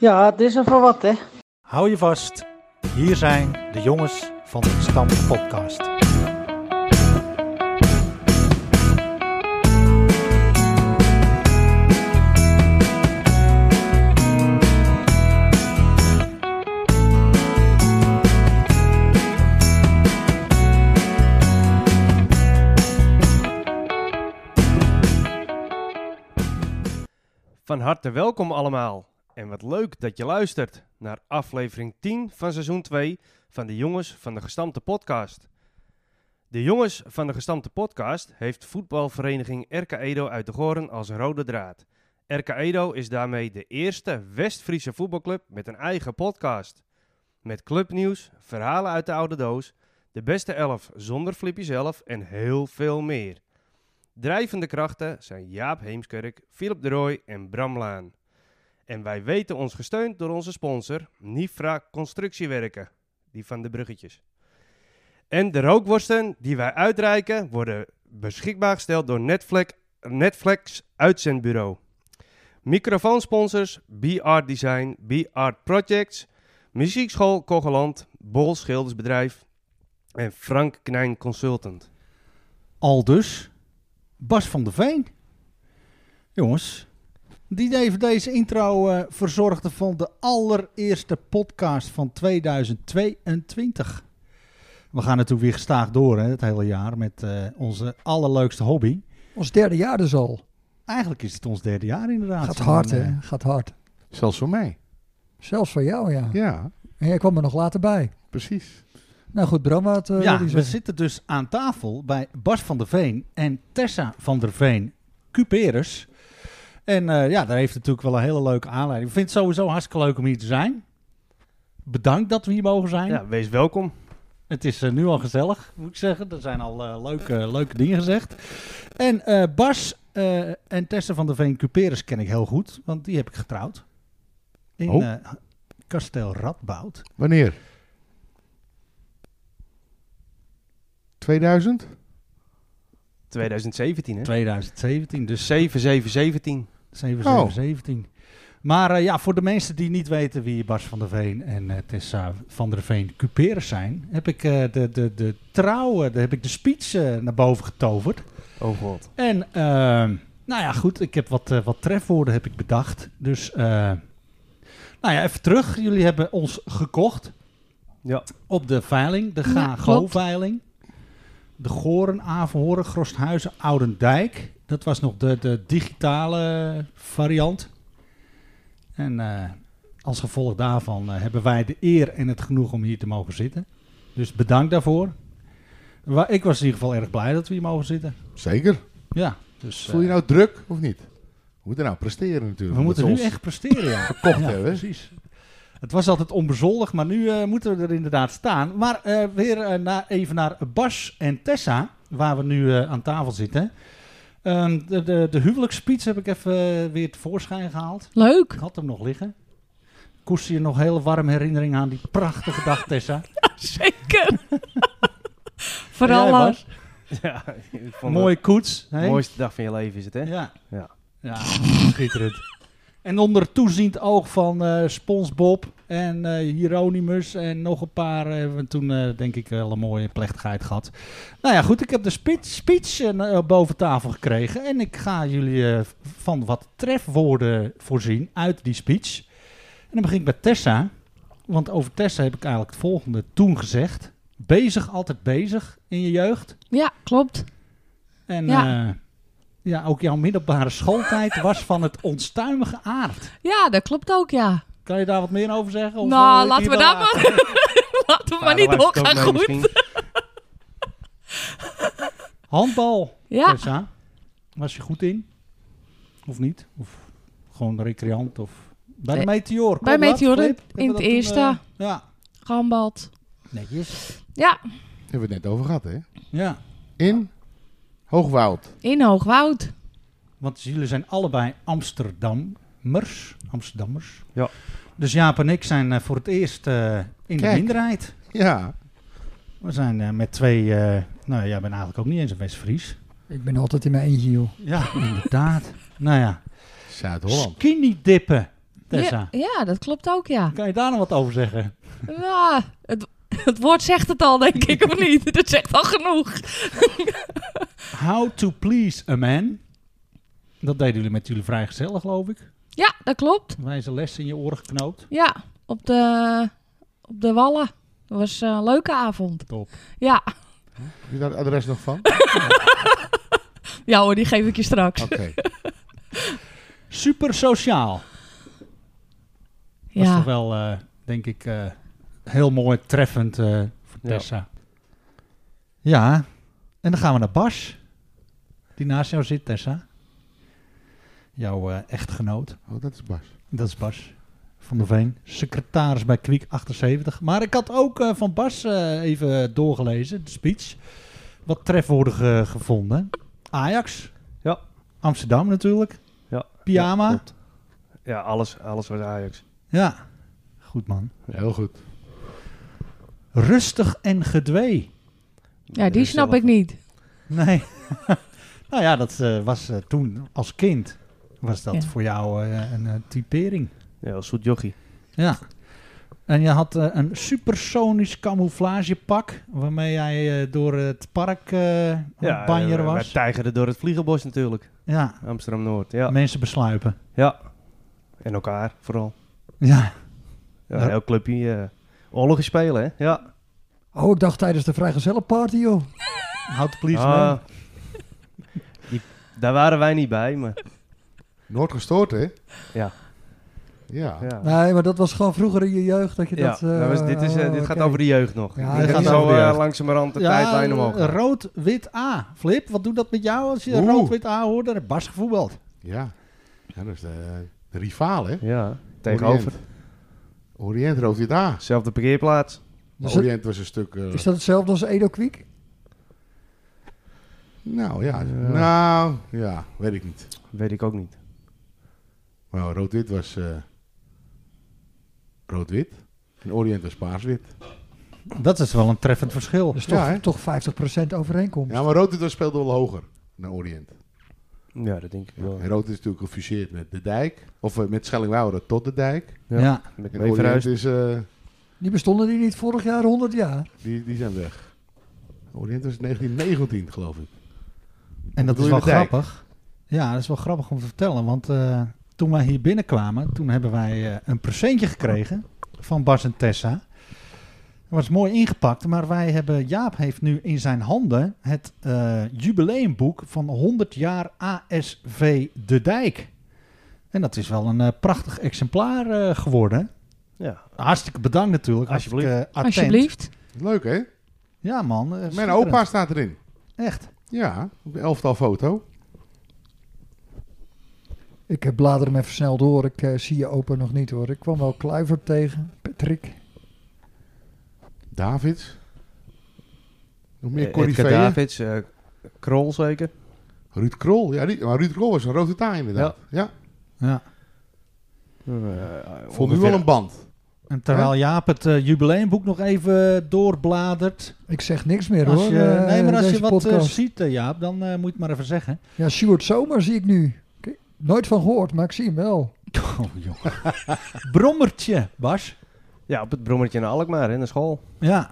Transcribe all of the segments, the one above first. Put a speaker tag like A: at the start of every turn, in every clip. A: Ja, het is er voor wat, hè?
B: Hou je vast, hier zijn de jongens van de Stam Podcast.
C: Van harte welkom allemaal en wat leuk dat je luistert naar aflevering 10 van seizoen 2 van de Jongens van de Gestampte Podcast. De Jongens van de Gestampte Podcast heeft voetbalvereniging RK Edo uit de Goren als rode draad. RK Edo is daarmee de eerste West-Friese voetbalclub met een eigen podcast. Met clubnieuws, verhalen uit de oude doos, de beste elf zonder Flippy zelf en heel veel meer. Drijvende krachten zijn Jaap Heemskerk, Philip de Rooij en Bram Laan. En wij weten ons gesteund door onze sponsor Nifra Constructiewerken, die van de bruggetjes. En de rookworsten die wij uitreiken worden beschikbaar gesteld door Netflix, Netflix Uitzendbureau. Microfoonsponsors BR Design, BR Projects, Muziekschool Kogeland, Bol Schildersbedrijf en Frank Knijn Consultant.
B: Al dus, Bas van der Veen. Jongens, die even deze intro eh, verzorgde van de allereerste podcast van 2022. We gaan natuurlijk weer gestaag door hè, het hele jaar met eh, onze allerleukste hobby.
D: Ons derde jaar dus al.
B: Eigenlijk is het ons derde jaar inderdaad.
D: Gaat hard,
B: En, eh,
D: hè? Gaat hard.
E: Zelfs voor mij.
D: Zelfs voor jou, ja.
E: Ja,
D: En jij kwam er nog later bij.
E: precies.
D: Nou goed, Bram, wat
B: ja,
D: eh, wil je
B: we
D: zeggen?
B: zitten dus aan tafel bij Bas van der Veen en Tessa van der Veen Cuperus. En eh, ja, daar heeft het natuurlijk wel een hele leuke aanleiding. Ik vind het sowieso hartstikke leuk om hier te zijn. Bedankt dat we hier mogen zijn.
C: Ja, wees welkom.
B: Het is eh, nu al gezellig, moet ik zeggen. Er zijn al eh, leuke, leuke dingen gezegd. En eh, Bas eh, en Tessa van der Veen Cuperus ken ik heel goed, want die heb ik getrouwd. In
E: Oh.
B: eh, Kasteel Radboud.
E: Wanneer? 2000?
C: 2017, hè?
B: 2017, dus
C: 7717.
B: 7717. Maar eh, ja, voor de mensen die niet weten wie Bas van der Veen en eh, Tessa van der Veen Cuperus zijn, heb ik eh, de, de, de trouwen, daar heb ik de speech eh, naar boven getoverd.
C: Oh god.
B: En ehm, nou ja, goed, ik heb wat, eh, wat trefwoorden heb ik bedacht. Dus eh, nou ja, even terug. Jullie hebben ons gekocht
C: Ja.
B: op de veiling, de
D: Ja,
B: GAGO-veiling. De Goren, Averhoren, Grosthuizen, Oudendijk. Dat was nog de, de digitale variant. En eh, als gevolg daarvan eh, hebben wij de eer en het genoeg om hier te mogen zitten. Dus bedankt daarvoor. Wa- Ik was in ieder geval erg blij dat we hier mogen zitten.
E: Zeker.
B: Ja, dus
E: Voel je
B: eh,
E: nou druk of niet? We moeten nou presteren natuurlijk.
B: we
E: omdat
B: moeten
E: ze
B: nu
E: ons
B: echt presteren. Ja.
E: verkocht
B: Ja,
E: hebben.
B: precies. Het was altijd onbezoldigd, maar nu eh, moeten we er inderdaad staan. Maar eh, weer eh, na- even naar Bas en Tessa, waar we nu eh, aan tafel zitten. Ehm, de, de, de huwelijksspeech heb ik even eh, weer tevoorschijn gehaald.
F: Leuk.
B: Ik had hem nog liggen. Koester je nog hele warme herinneringen aan die prachtige dag, Tessa.
F: Zeker.
B: En
F: Vooral
B: jij,
F: eh,
B: Bas?
C: ja ik vond
B: Mooie koets.
C: het
B: hè?
C: de mooiste dag van je leven is het, hè?
B: Ja.
C: Ja.
B: Ja, schitterend. En onder toeziend oog van eh Spons Bob en eh Hieronymus en nog een paar eh, hebben we toen eh, denk ik wel een mooie plechtigheid gehad. Nou ja, goed, ik heb de speech, speech eh, na- boven tafel gekregen en ik ga jullie eh, van wat trefwoorden voorzien uit die speech. En dan begin ik bij Tessa, want over Tessa heb ik eigenlijk het volgende toen gezegd. Bezig, altijd bezig in je jeugd.
F: ja, klopt.
B: En ja.
F: Ja.
B: ja, ook jouw middelbare schooltijd was van het onstuimige aard.
F: Ja, dat klopt ook, ja.
B: Kan je daar wat meer over zeggen? Of wil je
F: nou,
B: het
F: laten we
B: Oh, hier
F: daar
B: wel eh, laten?
F: maar... laten we maar niet
C: Vader luistert
F: doorgaan,
C: ook mee
F: goed.
C: misschien.
B: Handbal,
F: Ja,
B: Tessa. Was je goed in? Of niet? Of gewoon recreant? Of... Bij de
F: Nee.
B: Meteor.
F: Bij
B: Conrad,
F: Meteor in-
B: Flip, hebben we
F: in het
B: dat toen,
F: eerste.
B: eh, ja.
F: gambald.
B: Netjes.
F: Ja,
E: Hebben we het net over gehad, hè?
B: Ja,
E: In Hoogwoud.
F: in Hoogwoud.
B: want jullie zijn allebei Amsterdammers. Amsterdammers.
C: Ja.
B: Dus Jaap en ik zijn eh, voor het eerst eh, in
E: Kijk.
B: de minderheid.
E: Ja.
B: We zijn eh, met twee... eh, nou, jij bent eigenlijk ook niet eens een West-Fries.
D: Ik ben altijd in mijn eentje, joh.
B: Ja, inderdaad. Nou ja,
E: Zuid-Holland.
B: skinny dippen. Tessa?
F: Ja, ja, dat klopt ook, ja.
B: Kan je daar nog wat over zeggen?
F: Ja, het, het woord zegt het al, denk ik, of niet? Het zegt al genoeg.
B: How to please a man. Dat deden jullie met jullie vrijgezellen, geloof ik.
F: Ja, dat klopt.
B: Wijze les in je oren geknoopt.
F: Ja, op de, op de Wallen. Dat was eh, een leuke avond.
B: Top.
F: Ja.
E: Heb je daar het adres nog van?
F: ja hoor, die geef ik je straks.
E: Oké.
B: Super sociaal. Dat is
F: ja.
B: toch wel, eh, denk ik, eh, heel mooi treffend eh, voor
C: Ja.
B: Tessa. Ja, en dan gaan we naar Bas. Die naast jou zit, Tessa. Jouw eh, echtgenoot.
E: Oh, dat is Bas.
B: Dat is Bas van der Veen, secretaris bij Kwiek 78. Maar ik had ook eh, van Bas eh, even doorgelezen, de speech. Wat trefwoorden ge- gevonden. Ajax.
C: Ja.
B: Amsterdam natuurlijk.
C: Ja.
B: Pyjama.
C: Ja,
B: Ja,
C: klopt. Ja, alles, alles was Ajax.
B: goed man.
E: Heel goed.
B: Rustig en gedwee.
F: ja, die snap ik niet.
B: Nee. nou ja, dat eh, was eh, toen als kind. Was dat
F: Ja.
B: voor jou eh, een eh, typering?
C: Ja, als zoet jochie.
B: Ja. En je had eh, een supersonisch camouflagepak waarmee jij eh, door het park eh aan
C: Ja,
B: het banjeren
C: eh, wij
B: was.
C: tijgerden door het vliegenbos natuurlijk.
B: Ja,
C: Amsterdam-Noord, ja.
B: mensen besluipen.
C: Ja. En elkaar vooral.
B: Ja.
C: Ja,
B: Ja.
C: Heel clubje. eh, oorlogen spelen, hè? Ja.
D: Oh, ik dacht tijdens de vrijgezellenparty, joh.
B: Houd de police
C: Ah,
B: mee.
C: die- daar waren wij niet bij, maar
E: Nooit gestoord, hè?
C: Ja.
E: Ja.
C: ja.
D: Nee, maar dat was gewoon vroeger in je jeugd dat je
C: Ja,
D: dat... eh,
C: dat was- dit is, eh,
D: oh,
C: dit gaat
D: oké.
C: over de jeugd nog.
D: Ja,
C: dit gaat
D: dit gaat
C: zo
B: over de
C: eh,
B: jeugd.
C: langzamerhand de
B: Ja, eh,
C: tijdlijn omhoog. gaan.
B: rood, wit, A. Flip, wat doet dat met jou als je
E: Oeh.
B: rood, wit, A hoort? Er Bas gevoetbald.
E: Ja. Ja, dat is de, de rivaal, hè?
C: Ja, tegenover.
E: Orient, Orient roodt dit
B: Dus
E: A.
C: Zelfde parkeerplaats.
D: Dus dat-
E: Orient was een stuk... eh,
D: Is dat hetzelfde als Edo Kwiek?
E: Nou ja. Nou, ja. Weet ik niet.
C: Weet ik ook niet.
E: Maar rood-wit was... eh, rood-wit. En Orient was paars-wit.
B: Dat is wel een treffend verschil.
D: Dat is
E: Ja, hè?
D: toch, toch 50% overeenkomst.
E: Ja, maar rood-wit was- speelde wel hoger naar Orient.
C: Ja, dat denk ik wel.
E: En rood is natuurlijk gefuseerd met de dijk. Of eh, met Schellingwoude tot de dijk.
B: Ja.
C: Ja.
B: Ja.
C: Met
E: En
C: mee
E: Orient
C: verhuisd.
E: is... eh,
D: Die bestonden die niet vorig jaar 100 jaar?
E: Die, die zijn weg. Orient was 1919, geloof ik.
B: En dat
E: Bedoel
B: is
E: je
B: wel
E: de dijk?
B: grappig. Ja, dat is wel grappig om te vertellen. Want eh, toen wij hier binnenkwamen, toen hebben wij eh, een presentje gekregen van Bas en Tessa. Dat was mooi ingepakt, maar wij hebben, Jaap heeft nu in zijn handen het eh, jubileumboek van 100 jaar ASV De Dijk. En dat is wel een eh, prachtig exemplaar eh, geworden.
C: Ja.
B: Hartstikke bedankt natuurlijk.
C: Alsjeblieft.
B: hartstikke attent.
F: Alsjeblieft.
E: Leuk, hè?
B: Ja man. eh,
E: Mijn
B: schitterend.
E: opa staat erin.
B: Echt.
E: Ja, op de elftal foto.
D: Ik eh, blader hem even snel door. Ik eh, zie je opa nog niet hoor. Ik kwam wel Kluivert tegen. Patrick.
E: Davids. Nog meer
C: Eh, Edgar
E: Corriveeën.
C: Davids, eh, Krol zeker.
E: Ruud Krol. Ja, die- maar Ruud Krol was een rode taai inderdaad. Ja.
B: Ja.
C: Uh,
E: Vond nu wel een band.
B: En terwijl Jaap het eh, jubileumboek nog even doorbladert.
D: Ik zeg niks meer
B: Als
D: hoor.
B: je,
D: eh,
B: nee, maar als je
D: deze
B: wat eh,
D: podcast.
B: ziet, eh, Jaap, dan eh, moet je het maar even zeggen.
D: Ja, Stuart Zomer zie ik nu. Ik- Nooit van gehoord, maar ik zie hem wel.
B: Oh, joh. Brommertje, Bas.
C: Ja, op het brommertje in Alkmaar, hè, naar school.
B: Ja,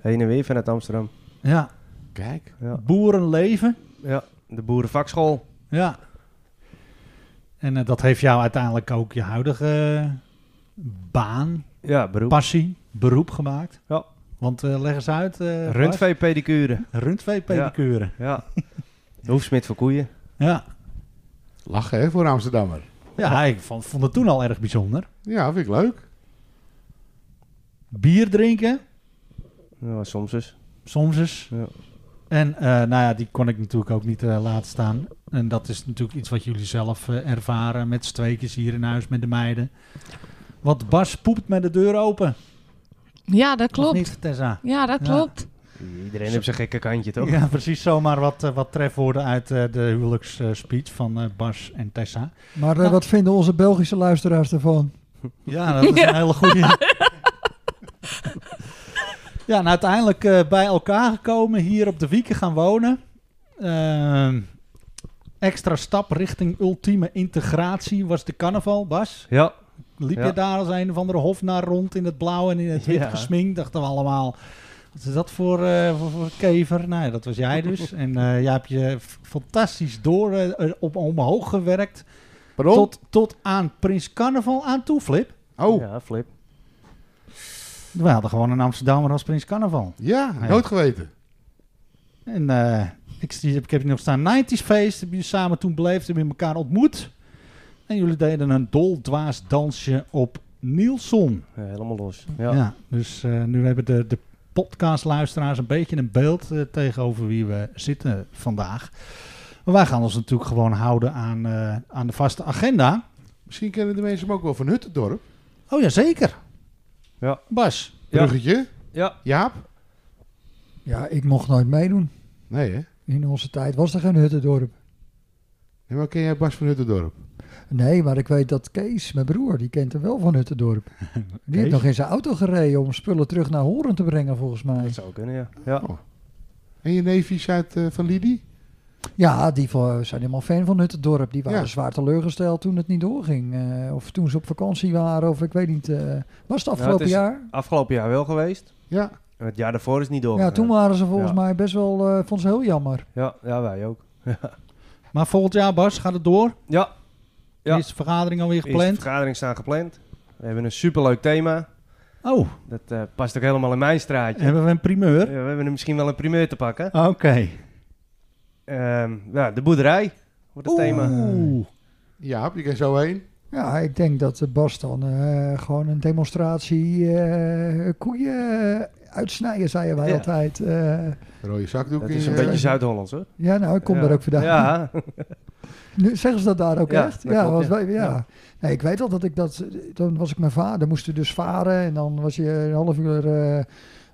C: Heen en weer vanuit Amsterdam.
B: ja.
E: Kijk.
C: Ja,
B: Boerenleven.
C: ja. de boerenvakschool.
B: Ja. En eh, dat heeft jou uiteindelijk ook je huidige eh, baan,
C: Ja, beroep.
B: passie, beroep gemaakt.
C: Ja.
B: Want eh, leg eens uit. eh
C: Rundvee pedicure.
B: Bas. Rundvee-pedicure.
C: Ja. De hoefsmid voor koeien.
B: Ja.
E: Lachen, hè, voor een Amsterdammer.
B: Ja. ik vond, vond het toen al erg bijzonder.
E: Ja, vind ik leuk.
B: Bier drinken,
C: Ja, soms dus.
B: soms eens.
C: Ja.
B: En eh, nou ja, die kon ik natuurlijk ook niet eh, laten staan. En dat is natuurlijk iets wat jullie zelf eh, ervaren met z'n tweetjes hier in huis met de meiden. Want Bas poept met de deur open. Of
F: Ja, dat klopt.
B: niet, Tessa?
F: Ja, dat
B: Ja.
F: klopt.
C: Iedereen heeft zijn gekke kantje, toch?
B: Ja, precies. Zomaar wat, eh, wat trefwoorden uit eh, de huwelijksspeech van eh, Bas en Tessa.
D: Maar eh,
B: Ja.
D: wat vinden onze Belgische luisteraars ervan?
B: Ja, dat is een hele goede. ja, en uiteindelijk eh, bij elkaar gekomen, hier op de wieken gaan wonen. Ehm, Eh, extra stap richting ultieme integratie was de carnaval, Bas.
C: Ja,
B: Liep
C: Ja.
B: je daar als een of andere hofnaar rond in het blauw en in het wit
C: Ja.
B: gesminkt? Dachten we allemaal, wat is dat voor, eh, voor, voor kever? Nou ja, dat was jij dus. en eh, jij hebt je f- fantastisch door eh, op, omhoog gewerkt.
E: Pardon?
B: Tot, tot aan Prins Carnaval aan toe, Flip.
E: Oh, ja.
C: ja flip.
B: We hadden gewoon een Amsterdammer als Prins Carnaval. ja.
E: nooit geweten.
B: En eh, ik, zie- ik heb hier nog staan 90s feest. Hebben jullie samen toen beleefd, hebben jullie elkaar ontmoet. En jullie deden een doldwaas dansje op Nielson.
C: Ja, helemaal los.
B: Ja.
C: Ja.
B: dus eh, nu hebben de, de podcastluisteraars een beetje een beeld eh, tegenover wie we zitten vandaag. Maar wij gaan ons natuurlijk gewoon houden aan, eh, aan de vaste agenda.
E: Misschien kennen de mensen hem ook wel van Huttendorp.
B: Oh ja, zeker.
C: Ja.
B: Bas,
E: Bruggetje.
C: Ja.
E: Jaap?
D: Ja, ik mocht nooit meedoen.
E: Nee, hè?
D: In onze tijd was er geen Huttendorp.
E: Nee, maar ken jij Bas van Huttendorp?
D: Nee, maar ik weet dat Kees, mijn broer, die kent hem wel van Huttendorp. Die heeft nog in zijn auto gereden om spullen terug naar Horen te brengen, volgens mij.
C: Dat zou kunnen, ja. ja.
B: Oh.
E: En je neefjes uit eh, van Lidie?
D: Ja, die vo- zijn helemaal fan van Huttendorp. Die waren
E: Ja.
D: zwaar teleurgesteld toen het niet doorging. Eh, of toen ze op vakantie waren, of ik weet niet. eh, was het afgelopen
C: is-
D: jaar?
C: Afgelopen jaar wel geweest.
E: Ja.
C: En Het jaar daarvoor is niet door.
D: Ja, toen waren ze volgens
C: eh, Ja.
D: mij best wel, eh vond ze heel jammer.
C: ja, ja, wij ook.
B: maar volgend jaar Bas, gaat het door?
C: Ja, Ja.
B: Is de vergadering alweer
C: eerste
B: gepland?
C: vergaderingen staan gepland. We hebben een superleuk thema.
B: Oh,
C: Dat eh, past ook helemaal in mijn straatje.
B: hebben we een
C: Eh,
B: primeur?
C: we hebben er misschien wel een primeur te pakken.
B: Oké.
C: Ehm, ja, de boerderij wordt het thema.
B: Oeh.
E: Jaap, je kan zo heen.
D: Ja, ik denk dat eh, Bas dan eh, gewoon een demonstratie eh koeien eh, uitsnijden, zeiden wij
C: Ja.
D: altijd. Eh,
E: Rode zakdoek.
C: Dat
E: in eh,
C: is
E: je-
C: een beetje Zuid-Hollands hoor.
D: ja, nou, ik kom
C: Ja.
D: daar ook vandaan.
C: Ja,
D: Nu, zeggen ze dat daar ook
C: Ja,
D: echt?
C: dat
D: Ja,
C: klopt,
D: was,
C: ja.
D: wij- ja.
C: Ja.
D: Nee, ik weet al dat ik dat... Dan was ik mijn vader, moesten we dus varen. En dan was je een half uur eh,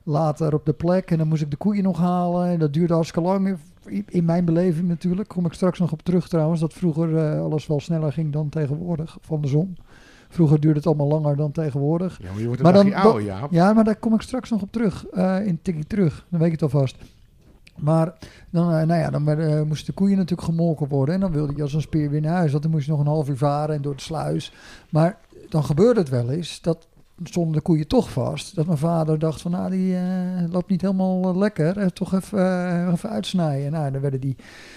D: later op de plek. En dan moest ik de koeien nog halen. En dat duurde hartstikke lang. In- In mijn beleving natuurlijk. Kom ik straks nog op terug trouwens. Dat vroeger eh, alles wel sneller ging dan tegenwoordig. Van de zon. Vroeger duurde het allemaal langer dan tegenwoordig.
E: Ja, maar je wordt een
D: Maar dan-
E: dagje ouder, Jaap.
D: Ja, maar daar kom ik straks nog op terug. eh in tikkie terug. Dan weet ik het alvast. Maar dan, eh, nou ja, dan werden, eh, moesten de koeien natuurlijk gemolken worden. En dan wilde je als een speer weer naar huis. Want dan moest je nog een half uur varen en door de sluis. Maar dan gebeurde het wel eens. Dat stonden de koeien toch vast. Dat mijn vader dacht van, nou, die eh, loopt niet helemaal eh, lekker. Eh, toch even, eh, even uitsnijden. Nou, dan werden die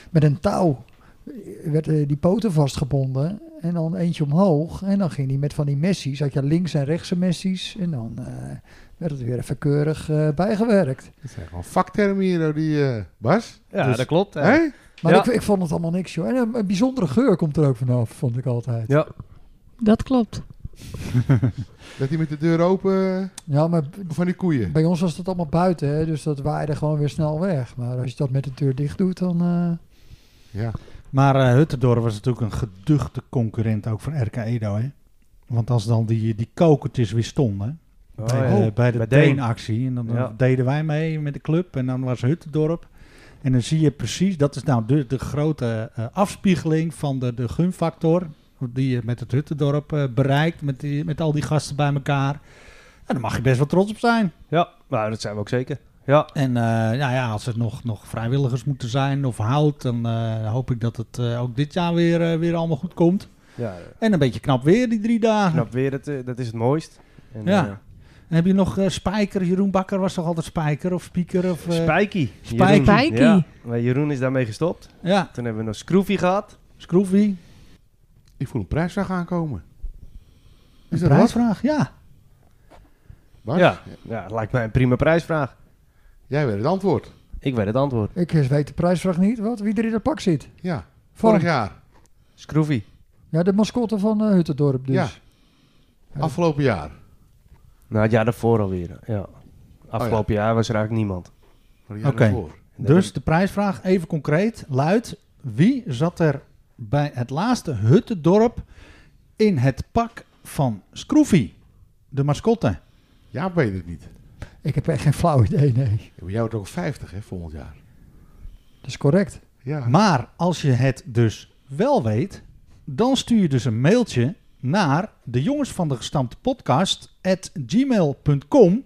D: met een touw eh, werd, eh, die poten vastgebonden en dan eentje omhoog. En dan ging die met van die messies, had je links en rechtse messies. En dan eh, werd het weer even keurig eh, bijgewerkt.
E: Dat zijn gewoon vaktermen hier, hoor, die eh, Bas.
C: ja
D: Dus-
C: dat klopt.
E: Hé?
C: Ja.
D: Maar
C: Ja.
D: ik, ik vond het allemaal niks, joh. En een, een bijzondere geur komt er ook vanaf, vond ik altijd. Ja,
C: Ja.
F: Dat klopt.
E: Dat hij met de deur open eh,
D: maar b-
E: van die koeien.
D: bij ons was dat allemaal buiten, hè, dus dat waaide gewoon weer snel weg. Maar als je dat met de deur dicht doet, dan... eh,
E: Ja.
B: Maar eh Huttendorp was natuurlijk een geduchte concurrent ook van RK Edo. Hè? Want als dan die, die kokertjes weer stonden
C: Oh,
B: bij, de-
C: ja.
B: bij de
C: Bij Deen.
B: Deen-actie. En dan dan
C: Ja.
B: deden wij mee met de club en dan was Huttendorp. En dan zie je precies, dat is nou de, de grote eh, afspiegeling van de, de gunfactor. Die je met het Huttendorp eh, bereikt, met, die, met al die gasten bij elkaar. En daar mag je best wel trots op zijn.
C: Ja, nou, dat zijn we ook zeker. Ja,
B: En eh, nou ja, als het nog, nog vrijwilligers moeten zijn of hout, dan eh, hoop ik dat het eh, ook dit jaar weer, eh, weer allemaal goed komt.
C: ja eh,
B: En een beetje knap weer die drie dagen.
C: knap weer, dat, eh, dat is het mooist. En,
B: Ja.
C: eh,
B: En heb je nog eh, Spijker? Jeroen Bakker was toch altijd Spijker of Spieker? Of, eh,
C: Spijkie.
B: Spijkie.
C: Jeroen.
F: Spijkie.
C: Ja, maar Jeroen is daarmee gestopt.
B: ja,
C: Toen hebben we nog Scroofy gehad.
B: Scroofy.
E: Ik voel een prijsvraag aankomen.
B: Een
E: Is dat wat?
B: prijsvraag, ja.
E: Bas,
C: Ja. ja, lijkt mij een prima prijsvraag.
E: jij weet het antwoord.
C: Ik weet het antwoord.
D: ik weet de prijsvraag niet, wat, wie er in het pak zit.
E: Ja,
D: Van-
E: vorig jaar.
C: Scroofy.
D: Ja, de mascotte van eh, Huttendorp dus.
E: Ja. Afgelopen jaar.
C: Nou, het jaar daarvoor alweer. Ja. Afgelopen jaar was er eigenlijk niemand.
E: Maar het jaar
B: Oké.
E: daarvoor.
C: En dat
B: Dus
C: is-
B: de prijsvraag, even concreet, luidt... Wie zat er bij het laatste huttendorp in het pak van Scroofy? De mascotte.
E: Jaap weet het niet.
D: Ik heb echt geen flauw idee, nee.
E: Ja, maar jij wordt ook 50 hè, volgend jaar.
D: Dat is correct.
E: Ja.
B: Maar als je het dus wel weet, dan stuur je dus een mailtje naar de jongens van de gestampte podcast at gmail.com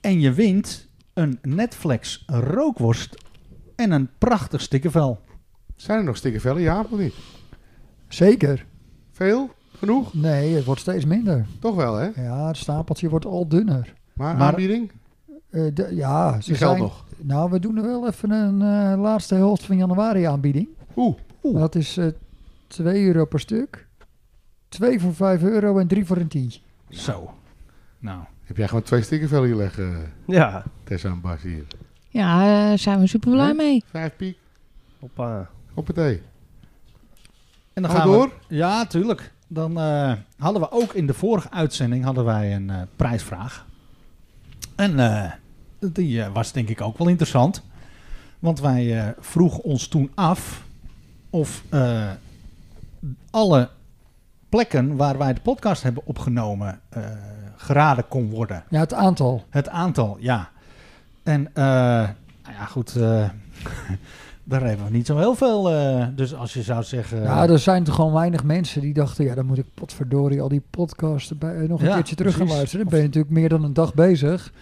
B: en je wint een Netflix rookworst en een prachtig stikkervel.
E: Zijn er nog stikkervellen? Ja of niet?
D: Zeker.
E: Veel? Genoeg?
D: Nee, het wordt steeds minder.
E: Toch wel, hè?
D: Ja, het stapeltje wordt al dunner.
E: Maar,
D: Hm. Maar-
E: aanbieding?
D: Eh, de- ja, ze
E: Die geldt
D: zijn-
E: nog.
D: Nou, we doen er wel even een eh, laatste helft van januari aanbieding.
E: Oeh.
D: Dat is eh 2 euro per stuk. 2 voor 5 euro en 3 voor een tientje.
G: Zo. Nou,
E: Heb jij gewoon twee stikkervellen hier leggen, eh,
C: Ja,
E: Tessa en Bas hier?
F: Ja, daar zijn we super blij
E: Nee?
F: mee.
E: Vijf piek,
C: hoppa.
E: hoppatee.
G: en dan
E: Gaan,
G: gaan
E: we door?
G: We, ja, tuurlijk. Dan eh, hadden we ook in de vorige uitzending hadden wij een eh, prijsvraag. En eh, die eh, was denk ik ook wel interessant. Want wij eh, vroegen ons toen af of eh, alle plekken waar wij de podcast hebben opgenomen eh, geraden kon worden.
D: Ja, het aantal.
G: Het aantal, ja. En, eh, nou ja, goed. eh, daar hebben we niet zo heel veel. eh, dus als je zou zeggen.
D: ja, er zijn toch gewoon weinig mensen die dachten... ja, dan moet ik potverdorie al die podcasts erbij, eh, nog een
G: Ja,
D: keertje terug gaan
G: precies.
D: luisteren. Dan ben je natuurlijk meer dan een dag bezig.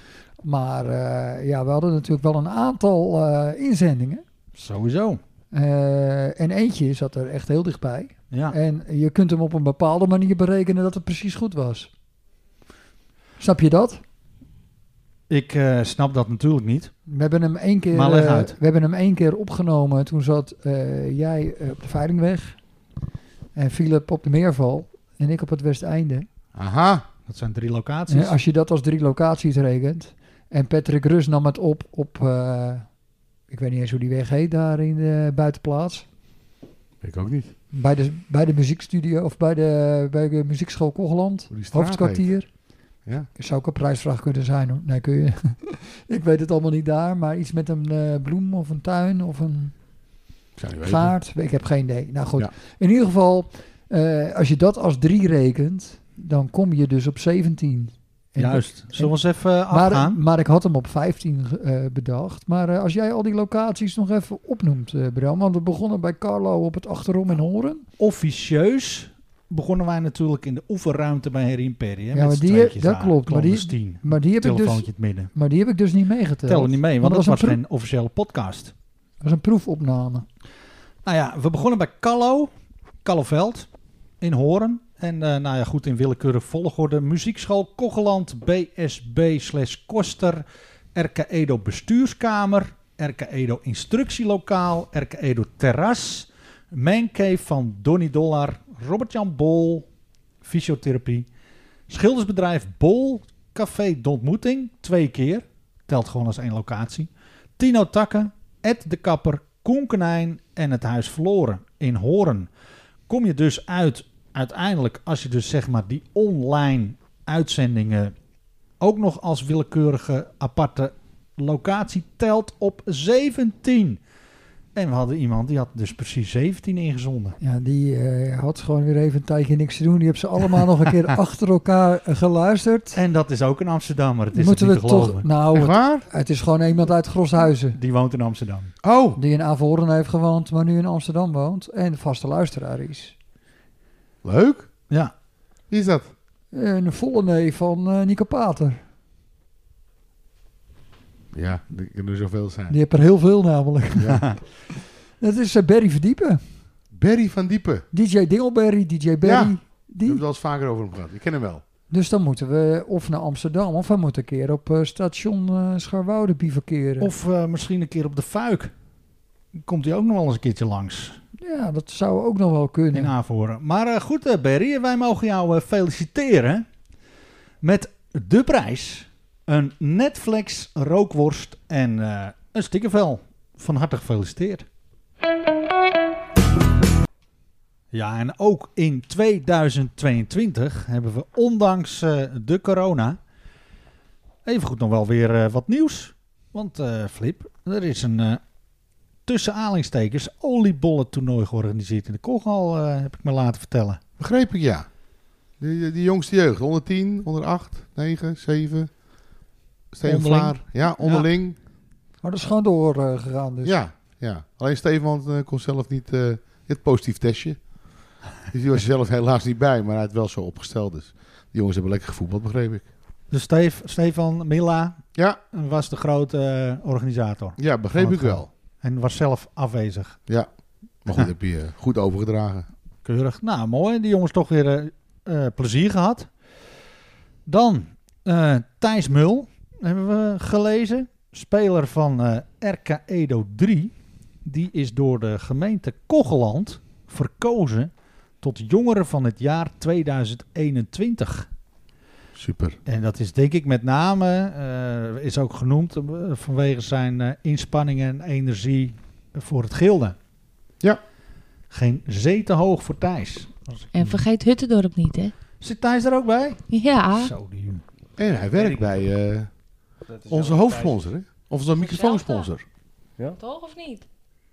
D: Maar eh, ja, we hadden natuurlijk wel een aantal eh, inzendingen.
G: Sowieso.
D: Eh, en eentje zat er echt heel dichtbij.
G: Ja.
D: En je kunt hem op een bepaalde manier berekenen dat het precies goed was. Snap je dat?
G: Ik eh, snap dat natuurlijk niet.
D: We hebben hem één keer,
G: Maar leg
D: eh,
G: uit.
D: we hebben hem één keer opgenomen. Toen zat eh, jij eh, op de Veilingweg en Philip op de Meerval en ik op het Westeinde.
E: Aha.
G: Dat zijn drie
D: En
G: locaties.
D: als je dat als drie locaties rekent. En Patrick Rus nam het op op, eh, ik weet niet eens hoe die weg heet daar in de buitenplaats.
E: Ik ook niet.
D: Bij de, bij de muziekstudio of bij de, bij de muziekschool Kogeland,
E: Hoe die straat
D: hoofdkwartier.
E: Ja.
D: Zou ook een prijsvraag kunnen zijn hoor. Nee, kun je. ik weet het allemaal niet daar, maar iets met een eh, bloem of een tuin of een
E: Ik zou niet weten.
D: vaart. Ik heb geen idee. Nou goed,
E: Ja.
D: in ieder geval, eh, als je dat als drie rekent, dan kom je dus op 17. En
G: Juist. Zullen we eens even
D: ik- Maar,
G: afgaan?
D: maar ik had hem op 15 ge- eh, bedacht. Maar eh, als jij al die locaties nog even opnoemt, eh Bram. Want we begonnen bij Carlo op het achterom in Horen.
G: Officieus begonnen wij natuurlijk in de oefenruimte bij Harry Imperium.
D: Ja, maar die- dat klopt, maar die- Maar die heb, ik dus,
G: Telefoontje in het midden.
D: maar die heb ik dus niet meegeteld.
G: Tel er niet mee, want
D: dat
G: dat
D: was
G: was
D: een
G: geen officiële podcast.
D: Dat is een proefopname.
G: Nou ja, we begonnen bij Callo, Calloveld in Hoorn. En eh, nou ja, goed, in willekeurig volgorde. Muziekschool Kogeland, BSB slash Koster, RK Edo Bestuurskamer, RK Edo Instructielokaal, RK Edo Terras, Mancave van Donny Dollar, Robert-Jan Bol, Fysiotherapie, Schildersbedrijf Bol, Café de Ontmoeting, twee keer, telt gewoon als één locatie, Tino Takken, Ed de Kapper, Koen Konijn en het Huis Verloren in Horen. Kom je dus uit, uiteindelijk, als je dus zeg maar die online uitzendingen ook nog als willekeurige aparte locatie telt op 17. En we hadden iemand die had dus precies 17 ingezonden.
D: Ja, die eh, had gewoon weer even een tijdje niks te doen. Die heb ze allemaal nog een keer achter elkaar eh, geluisterd.
G: En dat is ook een Amsterdammer, het is
D: Moeten
G: het
D: we
G: niet te geloven.
D: toch. Nou,
E: Echt
D: het,
E: waar?
D: het is gewoon iemand uit Groshuizen.
G: Die woont in Amsterdam.
E: Oh.
D: Die in Averhoorn heeft gewoond, maar nu in Amsterdam woont. En vaste luisteraar is.
E: Leuk.
G: Ja,
E: Wie is dat?
D: Een volle neef van eh, Nico Pater.
E: Ja, er kunnen er zoveel zijn.
D: Die heeft er heel veel namelijk.
E: Ja.
D: Dat is eh, Barry Verdiepen.
E: Barry van Diepen.
D: DJ Dingleberry, DJ Barry.
E: Ja. We
D: Die.
E: hebben het al eens vaker over hem gehad. Ik ken hem wel.
D: Dus dan moeten we of naar Amsterdam of we moeten een keer op eh, station eh Scharwoude bivakeren.
G: of eh, misschien een keer op de fuik. Komt hij ook nog wel eens een keertje langs.
D: ja, dat zou ook nog wel kunnen.
G: in aanvoeren. Maar eh, goed, eh, Barry, wij mogen jou eh, feliciteren met de prijs. Een Netflix rookworst en eh, een stikkervel. Van harte gefeliciteerd. Ja, en ook in 2022 hebben we ondanks eh, de corona evengoed nog wel weer eh, wat nieuws. Want eh, Flip, er is een eh, tussen aanhalingstekens oliebollen toernooi georganiseerd in de Kochal, eh, heb ik me laten vertellen.
E: Begreep ik, ja. Die, die- die jongste jeugd. 110, 108, 9, 7. Steven
G: Onderling.
E: Vlaar. Ja, onderling.
D: Maar dat is gewoon doorgegaan dus.
E: Ja, ja. Alleen Stevenman eh, kon zelf niet eh, het positief testje. Dus die was er zelf helaas niet bij, maar hij had wel zo opgesteld. Dus die jongens hebben lekker gevoetbald, begreep ik.
G: Dus Steef, Stefan Milla
E: Ja,
G: was de grote eh, organisator
E: ja begreep
G: Van
E: ik
G: het
E: wel.
G: en was zelf afwezig.
E: Ja. Maar goed, heb je eh, goed overgedragen.
B: Keurig. Nou, mooi. Die jongens toch weer eh, eh, plezier gehad. Dan eh, Thijs Mul, hebben we gelezen. Speler van eh, RK Edo 3. Die is door de gemeente Kogeland verkozen tot jongere van het jaar 2021.
E: Super.
B: En dat is denk ik met name, eh, is ook genoemd eh, vanwege zijn eh, inspanningen en energie voor het gilde.
E: Ja.
B: Geen zee te hoog voor Thijs. Als ik-
F: En vergeet Huttendorp niet, hè?
B: Zit Thijs er ook bij?
F: Ja.
B: Zo, die jongen.
E: En
C: Weet
E: hij werkt
C: ik
E: bij eh,
C: Dat is
E: onze
C: wel
E: hoofdsponsor, hè? Of onze microfoonsponsor.
F: Toch of niet?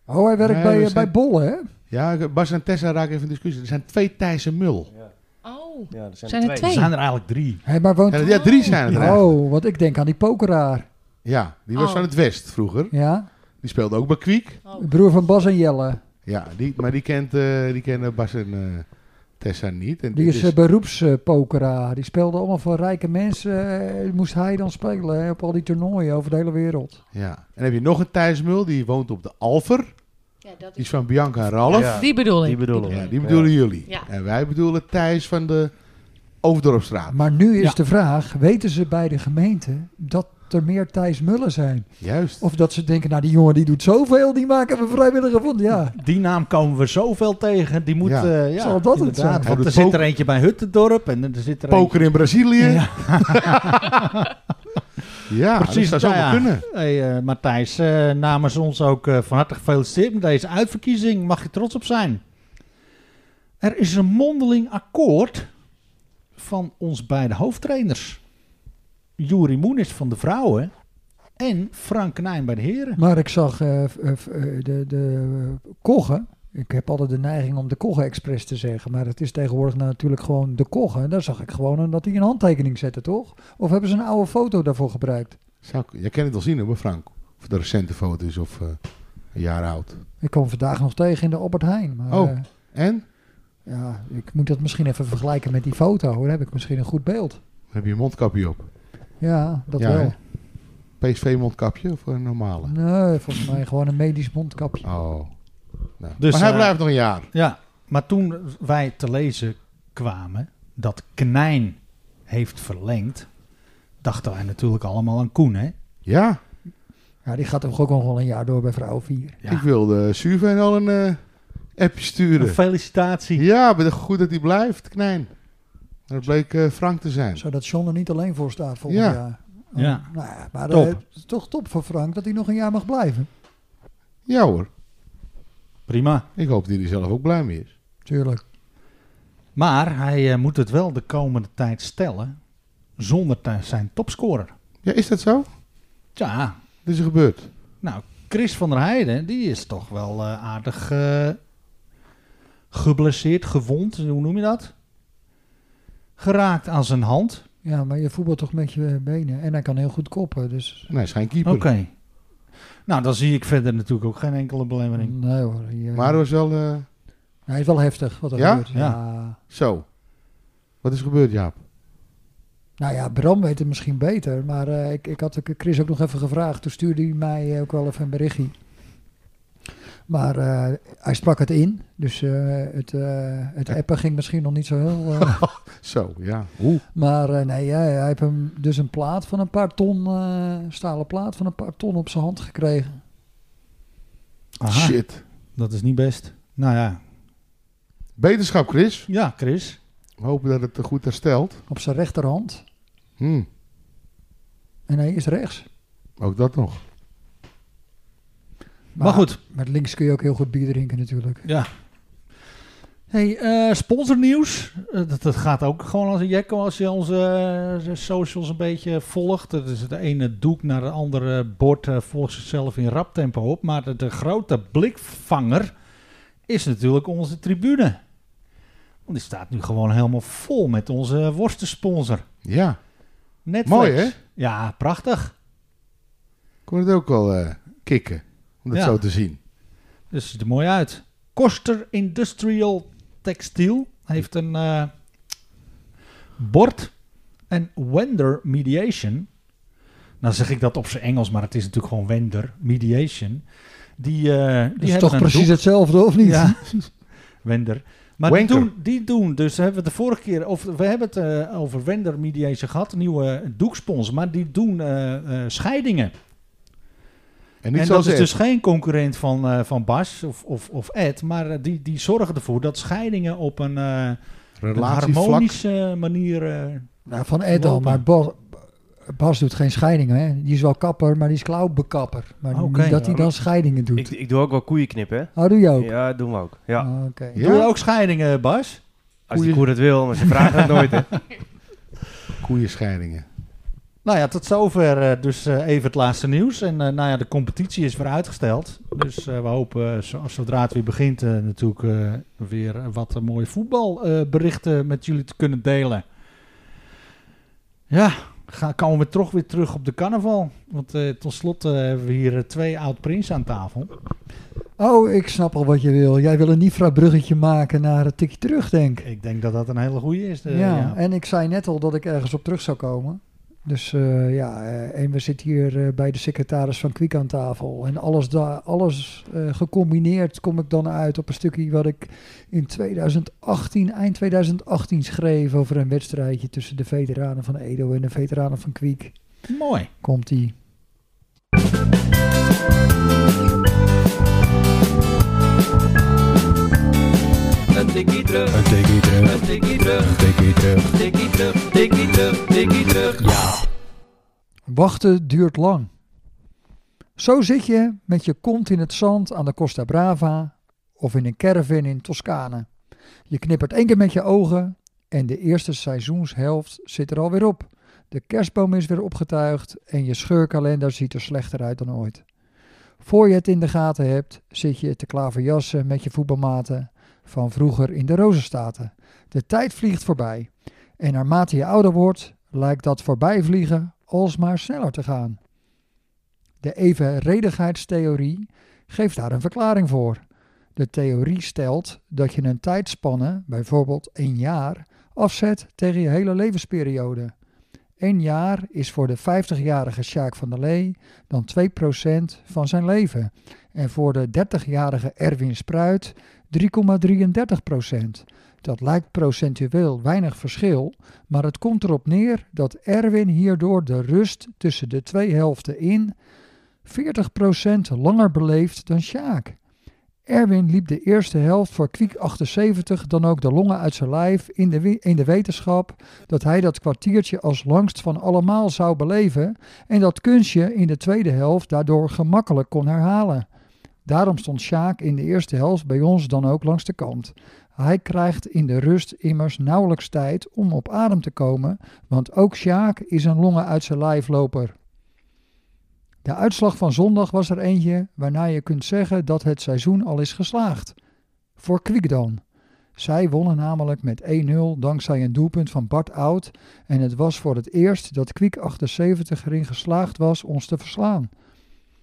D: Oh, hij werkt
E: Nee,
D: bij,
E: we
D: eh, bij
E: zijn-
D: Bolle, hè?
E: Ja, ik- Bas en Tessa raken even in discussie. Er zijn twee Thijssen Mul.
C: Thijs. Ja.
F: Oh.
C: Ja, er zijn,
F: Zijn er
B: Er
F: Hey.
B: zijn er eigenlijk drie.
D: Hij maar woont...
E: Ja, ja, drie zijn het er eigenlijk.
D: Oh, want ik denk aan die pokeraar.
E: Ja, die was
F: Oh.
E: van het West vroeger.
D: Ja,
E: Die speelde ook bij Kwiek.
F: Oh.
D: de broer van Bas en Jelle.
E: Ja, die, maar die, kent, eh, die kennen Bas en eh, Tessa niet. En
D: Die
E: dit
D: is eh, beroepspokeraar. Die speelde allemaal voor rijke mensen. eh, moest hij dan spelen hè, op al die toernooien over de hele wereld.
E: ja. En dan heb je nog een Thijs Mul, die woont op de Alver.
F: Ja, dat
E: Die is van Bianca en Ralf.
C: Ja.
F: Die bedoel ik.
C: Die bedoelen
E: Ja,
C: we.
E: die bedoelen jullie.
F: Ja.
E: En wij bedoelen Thijs van de Overdorpstraat.
D: Maar nu is
B: Ja.
D: de vraag, weten ze bij de gemeente dat er meer Thijs Mullen zijn?
E: Juist.
D: Of dat ze denken, nou die jongen die doet zoveel, die maken we vrijwilliger van. Ja,
B: Die naam komen we zoveel tegen. Die moet,
E: Ja.
B: eh, ja,
D: Zal dat het
B: inderdaad,
D: zijn?
E: Hij
B: Want
E: doet
B: er zit er
E: poker.
B: eentje bij Huttendorp en er zit er
E: Poker in Brazilië.
B: eentje...
E: Ja,
B: Ja,
E: precies.
B: precies.
E: Dat zou
B: Nou
E: wel
B: ja.
E: kunnen.
B: Hey, eh Matthijs, eh, namens ons ook eh, van harte gefeliciteerd met deze uitverkiezing. Mag je trots op zijn. Er is een mondeling akkoord van ons beide hoofdtrainers. Juri Moenis van de vrouwen en Frank Knijn bij de heren.
D: maar ik zag eh, f- eh, f- eh, de, de eh, koggen. Ik heb altijd de neiging om de koggen expres te zeggen. Maar het is tegenwoordig natuurlijk gewoon de koggen. Daar zag ik gewoon een- dat hij een handtekening zette, toch? Of hebben ze een oude foto daarvoor gebruikt?
E: Zou, jij kan het wel zien hoor, bij Frank. Of de recente foto is of eh, een jaar oud.
D: Ik kwam vandaag nog tegen in de Albert Heijn. Maar,
E: Oh.
D: eh,
E: En?
D: ja, ik moet dat misschien even vergelijken met die foto. Dan heb ik misschien een goed beeld.
E: Dan heb je een mondkapje op.
D: Ja, dat
E: Ja,
D: wel.
E: PSV mondkapje of een normale?
D: Nee, volgens mij gewoon een medisch mondkapje.
E: Oh. Nou.
B: Dus,
E: maar hij
B: eh,
E: blijft nog een jaar.
B: Ja, maar toen wij te lezen kwamen dat Knijn heeft verlengd, dachten wij natuurlijk allemaal aan Koen, hè?
E: Ja,
D: Ja, die gaat toch ook nog wel een jaar door bij vrouw 4.
B: Ja.
E: ik wilde Suven al een eh, appje
B: Een
E: sturen.
B: felicitatie.
E: Ja, maar goed dat hij blijft, Knijn. Dat bleek eh, Frank te zijn.
D: Zodat John er niet alleen voor staat volgend
E: Ja.
D: jaar.
B: Ja.
D: Nou ja, maar
B: Top.
D: eh, het is toch top voor Frank dat hij nog een jaar mag blijven.
E: Ja hoor,
B: Prima.
E: ik hoop dat hij er zelf ook blij mee is.
D: Tuurlijk.
B: Maar hij eh, moet het wel de komende tijd stellen zonder te- zijn topscorer.
E: Ja, is dat zo?
B: Ja,
E: Dit is er gebeurd.
B: nou, Chris van der Heijden, die is toch wel eh, aardig eh, geblesseerd, gewond, hoe noem je dat? Geraakt aan zijn hand.
D: Ja, maar je voetbalt toch met je benen. En hij kan heel goed koppen, dus...
E: Nee, hij is geen keeper.
B: Oké. Nou, dan zie ik verder natuurlijk ook geen enkele belemmering.
D: Nee hoor. hij, eh,
E: Maar dat was wel eh,
D: Hij is wel heftig wat er
E: Ja?
D: gebeurt. Ja.
E: zo. Wat is er gebeurd, Jaap?
D: Nou ja, Bram weet het misschien beter. Maar eh, ik, ik had ook Chris ook nog even gevraagd. Toen stuurde hij mij eh, ook wel even een berichtje. Maar eh, hij sprak het in. Dus eh, het, eh, het appen ging misschien nog niet zo heel... eh,
E: Zo, ja. Hoe?
D: Maar eh, nee, hij, hij heeft hem dus een plaat van een paar ton, eh, stalen plaat van een paar ton op zijn hand gekregen.
B: Aha,
E: Shit.
B: dat is niet best. Nou ja,
E: Beterschap, Chris.
B: ja, Chris.
E: We hopen dat het eh, goed herstelt.
D: Op zijn rechterhand.
E: Hm,
D: En hij is rechts.
E: ook dat nog.
B: Maar, goed,
D: Met links kun je ook heel goed bier drinken natuurlijk.
B: ja. Hey, eh, sponsornieuws. Eh, dat, dat gaat ook gewoon als een jekko als je onze eh, socials een beetje volgt. Dat is het ene doek naar het andere bord eh, volgt zichzelf in rap tempo op. Maar de, de grote blikvanger is natuurlijk onze tribune. Want die staat nu gewoon helemaal vol met onze worstensponsor.
E: Ja,
B: Netflix.
E: mooi hè?
B: Ja, prachtig.
E: Ik kon het ook wel eh, kicken, om dat
B: Ja.
E: zo te zien.
B: Dus het ziet er mooi uit. Koster Industrial Textiel heeft een eh, bord. En Wender Mediation. Nou zeg ik dat op zijn Engels, maar het is natuurlijk gewoon Wender Mediation. Die, eh, die
D: Dat is
B: hebben
D: toch
B: een
D: precies
B: doek.
D: hetzelfde, of niet?
B: Ja, Wender. Maar die
E: Wanker.
B: doen, die doen, dus hebben we de vorige keer, of we hebben het eh, over Wender Mediation gehad, een nieuwe doekspons, maar die doen eh, eh, scheidingen.
E: En niet
B: en dat
E: zoals
B: is
E: Ed.
B: dus geen concurrent van, eh, van Bas of, of, of Ed, maar eh, die, die zorgen ervoor dat scheidingen op een, eh, een
E: relatievlak.
B: harmonische manier. eh,
D: Nou, van Ed al,
B: Lopen.
D: maar Bas, Bas doet geen scheidingen. Hè? Die is wel kapper, maar die is klauwbekapper. Maar niet
B: Oké.
D: dat hij
C: Ja,
D: dan
C: maar-
D: scheidingen doet.
C: Ik, ik doe ook wel koeien knippen, hè?
D: oh, doe je ook?
C: Ja, doen we ook. Ja,
D: Ah, Oké.
E: Ja?
B: Doe je ook scheidingen, Bas?
C: als die
E: koeien-
C: koe dat wil, maar ze vragen het nooit, hè?
E: Koeienscheidingen.
B: Nou ja, tot zover eh, dus eh, even het laatste nieuws. En eh, nou ja, de competitie is weer uitgesteld. Dus eh, we hopen eh, zo- zodra het weer begint eh, natuurlijk eh, weer eh, wat eh, mooie voetbalberichten eh, met jullie te kunnen delen. Ja, ga, komen we toch weer terug op de carnaval. Want eh tot slot eh, hebben we hier eh, twee oud-prins aan tafel.
D: Oh, ik snap al wat je wil. Jij wil een Nifra-bruggetje maken naar het tikje terug, denk ik.
B: Ik denk dat dat een hele goede is. eh,
D: ja.
B: ja.
D: en ik zei net al dat ik ergens op terug zou komen. Dus eh, ja, eh, en we zitten hier eh, bij de secretaris van Kwiek aan tafel. En alles, da- alles eh, gecombineerd kom ik dan uit op een stukje wat ik in 2018, eind 2018 schreef over een wedstrijdje tussen de veteranen van Edo en de veteranen van Kwiek.
B: Mooi.
D: Komt ie.
A: Een tikkie terug. Een tikkie terug. Een tikkie terug.
D: Wachten duurt lang. Zo zit je met je kont in het zand aan de Costa Brava of in een caravan in Toscane. Je knippert één keer met je ogen en de eerste seizoenshelft zit er alweer op. De kerstboom is weer opgetuigd en je scheurkalender ziet er slechter uit dan ooit. Voor je het in de gaten hebt, zit je te klaverjassen met je voetbalmaten van vroeger in de Rozenstaten. De tijd vliegt voorbij. En naarmate je ouder wordt, lijkt dat voorbijvliegen alsmaar sneller te gaan. De evenredigheidstheorie geeft daar een verklaring voor. De theorie stelt dat je een tijdspanne, bijvoorbeeld een jaar, afzet tegen je hele levensperiode. Een jaar is voor de 50-jarige Sjaak van der Lee dan 2% van zijn leven. En voor de 30-jarige Erwin Spruit 3,33%. Dat lijkt procentueel weinig verschil, maar het komt erop neer dat Erwin hierdoor de rust tussen de twee helften in 40% langer beleeft dan Sjaak. Erwin liep de eerste helft voor Kwiek 78 dan ook de longen uit zijn lijf in de, wi- in de wetenschap dat hij dat kwartiertje als langst van allemaal zou beleven en dat kunstje in de tweede helft daardoor gemakkelijk kon herhalen. Daarom stond Sjaak in de eerste helft bij ons dan ook langs de kant. Hij krijgt in de rust immers nauwelijks tijd om op adem te komen, want ook Sjaak is een longen uit zijn lijfloper. De uitslag van zondag was er eentje waarna je kunt zeggen dat het seizoen al is geslaagd. Voor Kwiek dan. Zij wonnen namelijk met 1-0 dankzij een doelpunt van Bart Oud en het was voor het eerst dat Kwiek 78 erin geslaagd was ons te verslaan.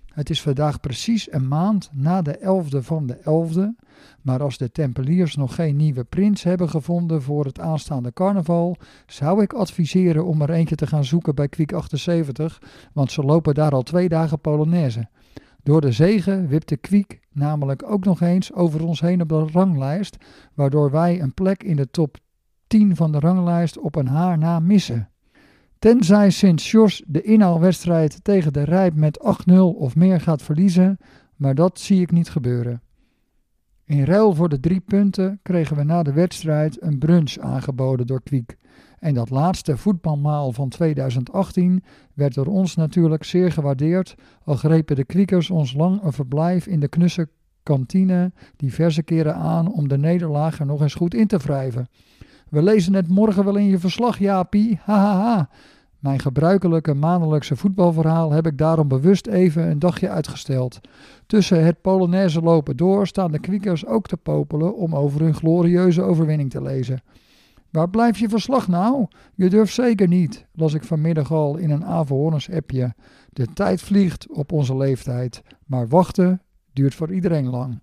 D: Het is vandaag precies een maand na de 11e van de 11e maar als de Tempeliers nog geen nieuwe prins hebben gevonden voor het aanstaande carnaval, zou ik adviseren om er eentje te gaan zoeken bij Kwiek 78, want ze lopen daar al twee dagen Polonaise. Door de zegen wipte Kwiek namelijk ook nog eens over ons heen op de ranglijst, waardoor wij een plek in de top 10 van de ranglijst op een haar na missen. Tenzij Sint-Georges de inhaalwedstrijd tegen de Rijp met 8-0 of meer gaat verliezen, maar dat zie ik niet gebeuren. In ruil voor de drie punten kregen we na de wedstrijd een brunch aangeboden door Kwiek. En dat laatste voetbalmaal van 2018 werd door ons natuurlijk zeer gewaardeerd, al grepen de Kwiekers ons lang een verblijf in de knusse kantine diverse keren aan om de nederlaag er nog eens goed in te wrijven. We lezen het morgen wel in je verslag, Jaapie. Hahaha. Mijn gebruikelijke maandelijkse voetbalverhaal heb ik daarom bewust even een dagje uitgesteld. Tussen het Polonaise lopen door staan de kwiekers ook te popelen om over hun glorieuze overwinning te lezen. Waar blijf je verslag nou? Je durft zeker niet, las ik vanmiddag al in een Averhorners appje. De tijd vliegt op onze leeftijd, maar wachten duurt voor iedereen lang.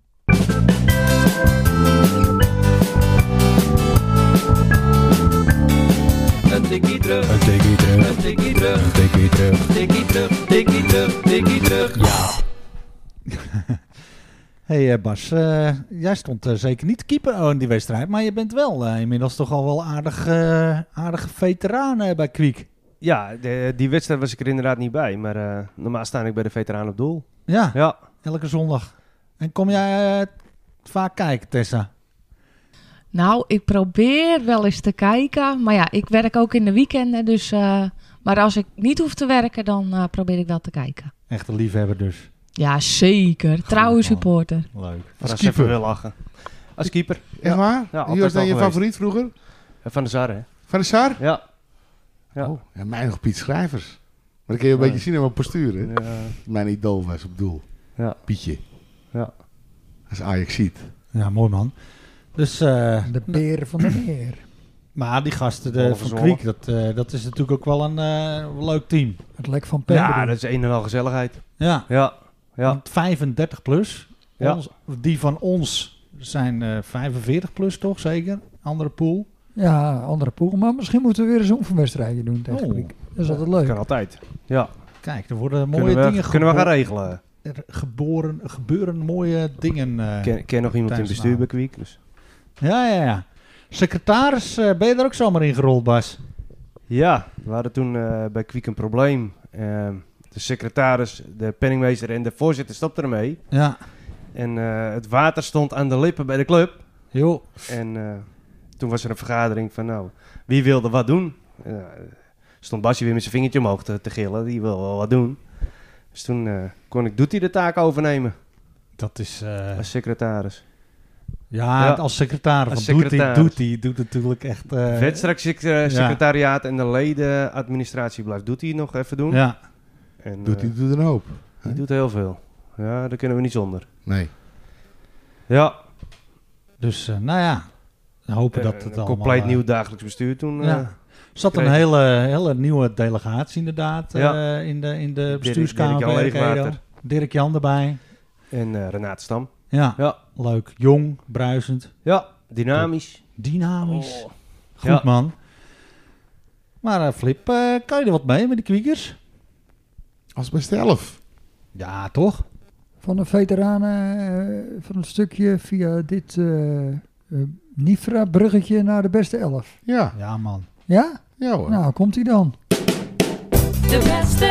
A: Een tikkie terug. Een tikkie terug. Een tikkie terug. Tikkie terug. Tikkie terug. Tikkie terug. Ja.
B: hey, eh, Bas, eh, jij stond eh, zeker niet te keeper oh, in die wedstrijd, maar je bent wel eh, inmiddels toch al wel aardig, eh aardige veteraan eh, bij Kwiek.
C: Ja, de- die wedstrijd was ik er inderdaad niet bij. Maar eh, normaal sta ik bij de veteraan op doel.
B: Ja,
C: Ja,
B: elke zondag. En kom jij eh, vaak kijken, Tessa?
F: Nou, ik probeer wel eens te kijken. Maar ja, ik werk ook in de weekenden. Dus, eh, maar als ik niet hoef te werken, dan eh, probeer ik wel te kijken.
B: Echte liefhebber dus.
F: Ja, zeker. Trouwe
B: man.
F: supporter.
B: Leuk.
C: als
E: keeper.
C: even wil lachen. Als keeper.
E: Echt waar?
C: Ja,
E: Wie was
C: altijd
E: dan
C: al
E: je
C: geweest.
E: favoriet vroeger?
C: Eh, Van de Sar, hè?
E: Van de Sar?
C: Ja. Ja.
E: Oh, ja, mij nog Piet Schrijvers. Maar dan kun je een
C: Ja.
E: beetje zien aan mijn postuur. Hè?
C: Ja.
E: Mijn idool was op doel.
C: Ja.
E: Pietje.
C: Ja.
E: Dat is Ajax ziet.
B: Ja, mooi man. Dus, eh,
D: De beer van de meer.
B: maar die gasten
C: Alle
B: de, van
C: verzonnen.
B: Kwiek, dat, eh, dat is natuurlijk ook wel een eh, leuk team.
D: Het lek van Pep.
C: ja,
D: bedoel.
C: dat is een en al gezelligheid.
B: Ja,
C: Ja, ja.
B: want 35 plus.
C: Ja.
B: Ons- die van ons zijn eh, 45 plus toch, zeker? Andere pool.
D: ja, andere poel. Maar misschien moeten we weer eens een oefenwedstrijdje doen tegen
B: Oh.
D: Griek. Dat is altijd leuk.
C: Kan altijd. Ja,
B: Kijk, er worden mooie
C: kunnen we,
B: dingen
C: kunnen we gaan
B: gebo-
C: regelen.
B: er geboren, gebeuren mooie dingen. eh.
C: Ken, ken nog iemand in het
B: tijdens
C: bestuur
B: de
C: bij Kwiek. Dus.
B: Ja, ja, ja. Secretaris, eh, ben je er ook zomaar in gerold, Bas?
C: Ja, we hadden toen eh, bij Kwiek een probleem. Ehm, de secretaris, de penningmeester en de voorzitter stopten ermee.
B: Ja.
C: En eh, het water stond aan de lippen bij de club.
B: Joh.
C: En eh, toen was er een vergadering van, nou, wie wilde wat doen? Eh, stond Basje weer met zijn vingertje omhoog te, te gillen, die wil wel wat doen. Dus toen eh, kon ik Doetie de taak overnemen
B: Dat is... eh,
C: als secretaris.
B: ja,
C: ja.
B: als secretaris.
C: Als
B: want doet die-
C: secretaris.
B: Doet die doet natuurlijk echt... eh,
C: Wedstrijdsecretariaat en de ledenadministratie blijft Doetie nog even doen.
B: Ja.
C: En,
E: Doet
C: eh,
E: hij doet er een hoop?
C: die doet heel veel. Ja, daar kunnen we niet zonder.
E: Nee.
C: Ja,
B: Dus, eh, nou ja. We hopen dat
C: eh,
B: het
C: een
B: allemaal...
C: compleet
B: eh,
C: nieuw dagelijks bestuur toen.
B: Ja.
C: eh,
B: Er zat een
C: Kreeg-
B: hele, hele nieuwe delegatie inderdaad
C: Ja.
B: eh, in, de, in de
C: Dirk-
B: bestuurskamer.
C: Dirk-Jan
B: bij RKEDO.
C: Leegwater.
B: Dirk Jan erbij.
C: En eh, Renate Stam.
B: Ja,
C: Ja.
B: leuk. Jong, bruisend,
C: Ja, dynamisch.
B: dynamisch.
C: Oh.
B: Goed
C: Ja.
B: man. Maar eh, Flip, eh, kan je er wat mee met die kwiekers?
E: Als best elf.
B: Ja, toch?
D: Van de veteranen eh, van het stukje via dit eh Nifra-bruggetje naar de beste elf.
E: Ja.
B: Ja man.
D: Ja?
E: Ja hoor.
D: Nou, komt hij dan.
H: De beste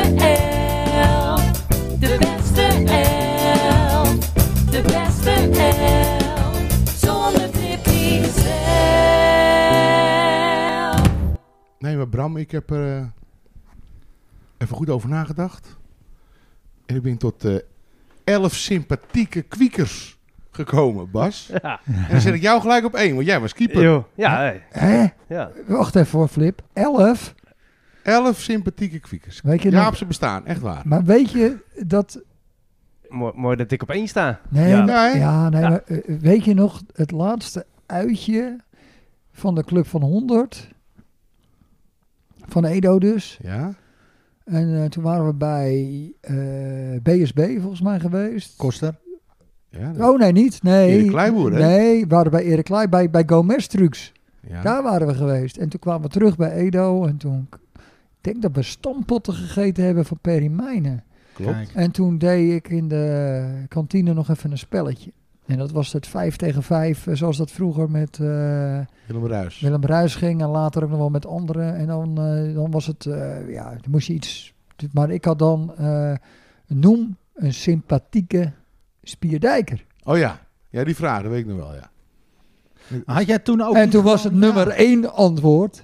H: elf. De beste elf. De beste elf. Zonder Tippy zelf.
E: Nee, maar Bram, ik heb er eh, even goed over nagedacht. En ik ben tot eh, elf sympathieke kwiekers gekomen, Bas.
C: Ja,
E: En dan zet ik jou gelijk op één, want jij was keeper.
C: Joh. ja, hey.
D: Hè?
C: ja.
D: Wacht even hoor, Flip. Elf?
E: Elf sympathieke kwiekers.
D: Weet je
E: Ja,
D: nog-
E: op ze bestaan, echt waar.
D: Maar weet je dat...
C: Mooi, mooi dat ik op één sta.
D: Nee,
C: Ja.
D: maar-
E: Nee.
D: ja, nee
C: Ja.
D: maar, eh, weet je nog het laatste uitje van de Club van 100? Van Edo dus.
E: Ja?
D: En eh, toen waren we bij eh, BSB volgens mij geweest.
B: Koster.
E: ja dat-
D: Oh nee, niet. Nee.
E: Erik Kleiboer, hè?
D: Nee, we waren bij Erik Kleij, bij, bij Gomez Trucks.
E: ja.
D: Daar waren we geweest. En toen kwamen we terug bij Edo. En toen, ik denk dat we stampotten gegeten hebben van Perry Mijnen.
E: klopt.
B: Kijk.
D: En toen deed ik in de kantine nog even een spelletje. En dat was het 5 tegen 5, zoals dat vroeger met eh,
E: Willem Ruijs.
D: Willem Ruis ging. En later ook nog wel met anderen. En dan, eh, dan was het, eh, ja, dan moest je iets. Maar ik had dan, eh, noem een sympathieke spierdijker.
E: Oh ja. Ja, die vraag, dat weet ik nog wel, ja.
B: Had jij toen
E: Oh.
B: ook...
D: en
B: niet
D: toen was het
B: gewoon-
D: nummer
B: Ja.
D: 1 antwoord.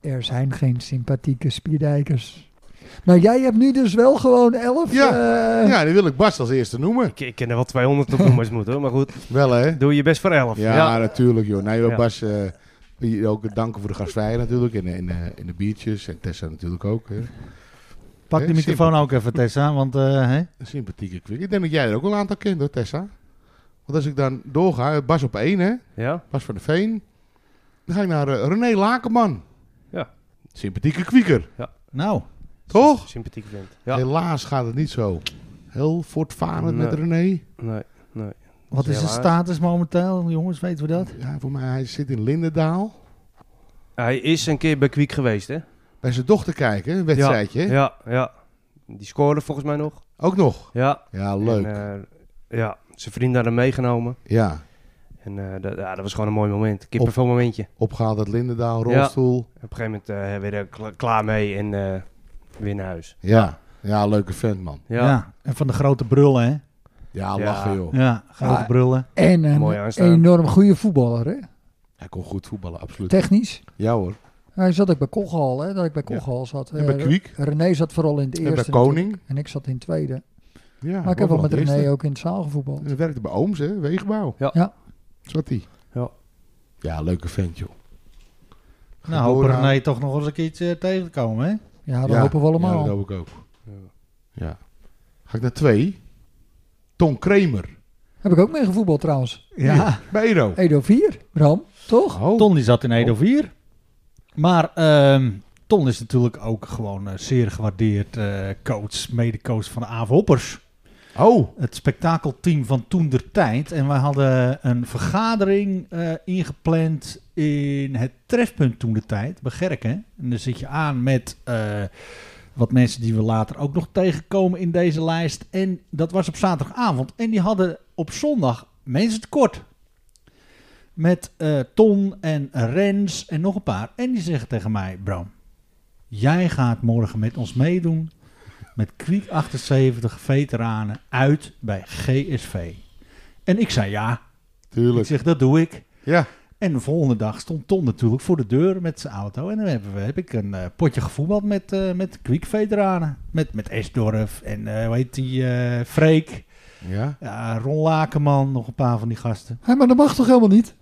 D: Er zijn geen sympathieke spierdijkers. Maar jij hebt nu dus wel gewoon 11.
E: Ja,
D: eh,
E: Ja, die wil ik Bas als eerste noemen.
C: Ik, ik ken er wel 200 op noemers moeten, maar goed.
E: Wel, hè?
C: Doe je best voor 11.
E: Ja, natuurlijk, joh. Nee, joh,
C: Ja.
E: Bas, eh, je- ook danken voor de gastvrijheid natuurlijk. En, en, eh, en de biertjes. En Tessa natuurlijk ook. Hè.
B: Pak die
E: Hè,
B: microfoon ook even Tessa, want... eh, hè?
E: Een sympathieke kwik. Ik denk dat jij er ook wel een aantal kent, hoor, Tessa. Want als ik dan doorga, eh, Bas op één, hè?
C: Ja?
E: Bas van de Veen. Dan ga ik naar eh, René Lakenman.
C: Ja.
E: Sympathieke kwieker,
B: Nou,
E: toch?
C: Sympathiek vent. Ja.
E: Helaas gaat het niet zo. Heel voortvarend met
C: Nee.
E: René.
C: Nee, nee.
B: wat is de
C: Helaas.
B: status momenteel, jongens? Weten we dat?
E: Ja, voor mij, hij zit in Lindendaal.
C: Hij is een keer bij Kwiek geweest, hè?
E: Bij zijn dochter kijken, een wedstrijdje. hè?
C: Ja, ja. Die scoorde volgens mij nog.
E: Ook nog.
C: Ja.
E: Ja, leuk.
C: En, eh, ja, Zijn vrienden hadden hem meegenomen.
E: Ja,
C: En eh, dat, ja, dat was gewoon een mooi moment. Kippenvel momentje.
E: opgehaald uit Lindendaal, rolstoel.
C: Op een gegeven moment eh weer er kla- klaar mee en eh, weer naar huis.
E: Ja, ja. leuke vent, man.
C: Ja,
B: En van de grote brullen, hè?
E: Ja,
C: Ja.
E: lachen, joh.
B: Ja, grote
D: Ja.
B: brullen.
D: En
C: Mooi
D: een
C: aanstaan.
D: enorm goede voetballer, hè?
E: Hij kon goed voetballen, absoluut.
D: Technisch.
E: ja, hoor.
D: Hij zat ook bij Kochal, hè? Dat ik bij Kochal zat.
E: En bij
D: Eh,
E: Kwiek.
D: René zat vooral in het
E: En
D: eerste.
E: bij
D: natuurlijk.
E: Koning.
D: En ik zat in het tweede.
E: Ja,
D: maar ik heb wel met
E: de
D: René
E: eerste.
D: ook in het zaal gevoetbald.
E: En hij werkte bij Ooms, hè? Wegenbouw.
C: Ja.
D: Ja.
E: Zat hij.
C: Ja.
E: Ja, leuke vent, joh.
B: Nou, hopen
E: Doorgaan.
B: René toch nog eens een keertje eh, tegenkomen, hè?
D: Ja, dat hopen we allemaal.
E: Ja, dat hoop ik ook. Ja. Ga ik naar twee. Ton Kramer.
D: Heb ik ook mee gevoetbald trouwens.
B: Ja.
E: Bij Edo.
D: Edo 4, Ram, toch?
E: Oh.
B: Ton die zat in Edo 4. Maar ehm, Ton is natuurlijk ook gewoon een zeer gewaardeerd eh, coach, mede-coach van de AV Hoppers.
E: oh.
B: het spektakelteam van toen der tijd. En wij hadden een vergadering eh, ingepland in het trefpunt toen de tijd, bij Gerken. En dan zit je aan met eh, wat mensen die we later ook nog tegenkomen in deze lijst. En dat was op zaterdagavond. En die hadden op zondag mensen tekort. Met eh, Ton en Rens en nog een paar. En die zeggen tegen mij, Bram, jij gaat morgen met ons meedoen met Kriek 78 veteranen uit bij GSV. En ik zei ja. Ik
E: Tuurlijk.
B: zeg, dat doe ik.
E: Ja.
B: En de volgende dag stond Ton natuurlijk voor de deur met zijn auto. En dan hebben we, heb ik een eh, potje gevoetbald met, eh met Kriek-veteranen. Met, met Esdorf en eh hoe heet die, eh Freek,
E: Ja.
B: ja, Ron Lakenman, nog een paar van die gasten.
D: Hé, maar dat mag toch helemaal niet?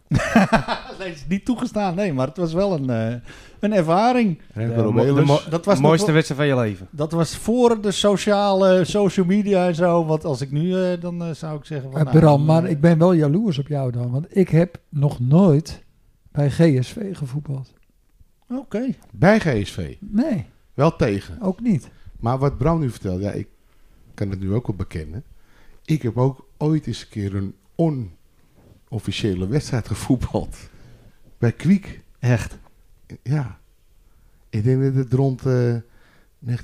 B: Nee, is niet toegestaan, nee, maar het was wel een, eh, een ervaring. Dus
E: Remco
C: De mo- de
E: Robelus.
C: mo-
B: Dat was nog
C: mooiste
B: wel-
C: wedstrijd van je leven.
B: Dat was voor de sociale, social media en zo. Want als ik nu, eh, dan eh, zou ik zeggen... Van,
D: Eh,
B: nou,
D: Bram,
B: eh,
D: maar ik ben wel jaloers op jou dan. Want ik heb nog nooit bij GSV gevoetbald.
B: Oké.
E: Bij GSV.
D: Nee,
E: Wel tegen.
D: ook niet.
E: Maar wat Bram nu vertelt, ja, ik kan het nu ook wel bekennen. Ik heb ook ooit eens een keer een onofficiële wedstrijd gevoetbald. Bij Kwiek.
B: Echt.
E: Ja. Ik denk dat het rond eh,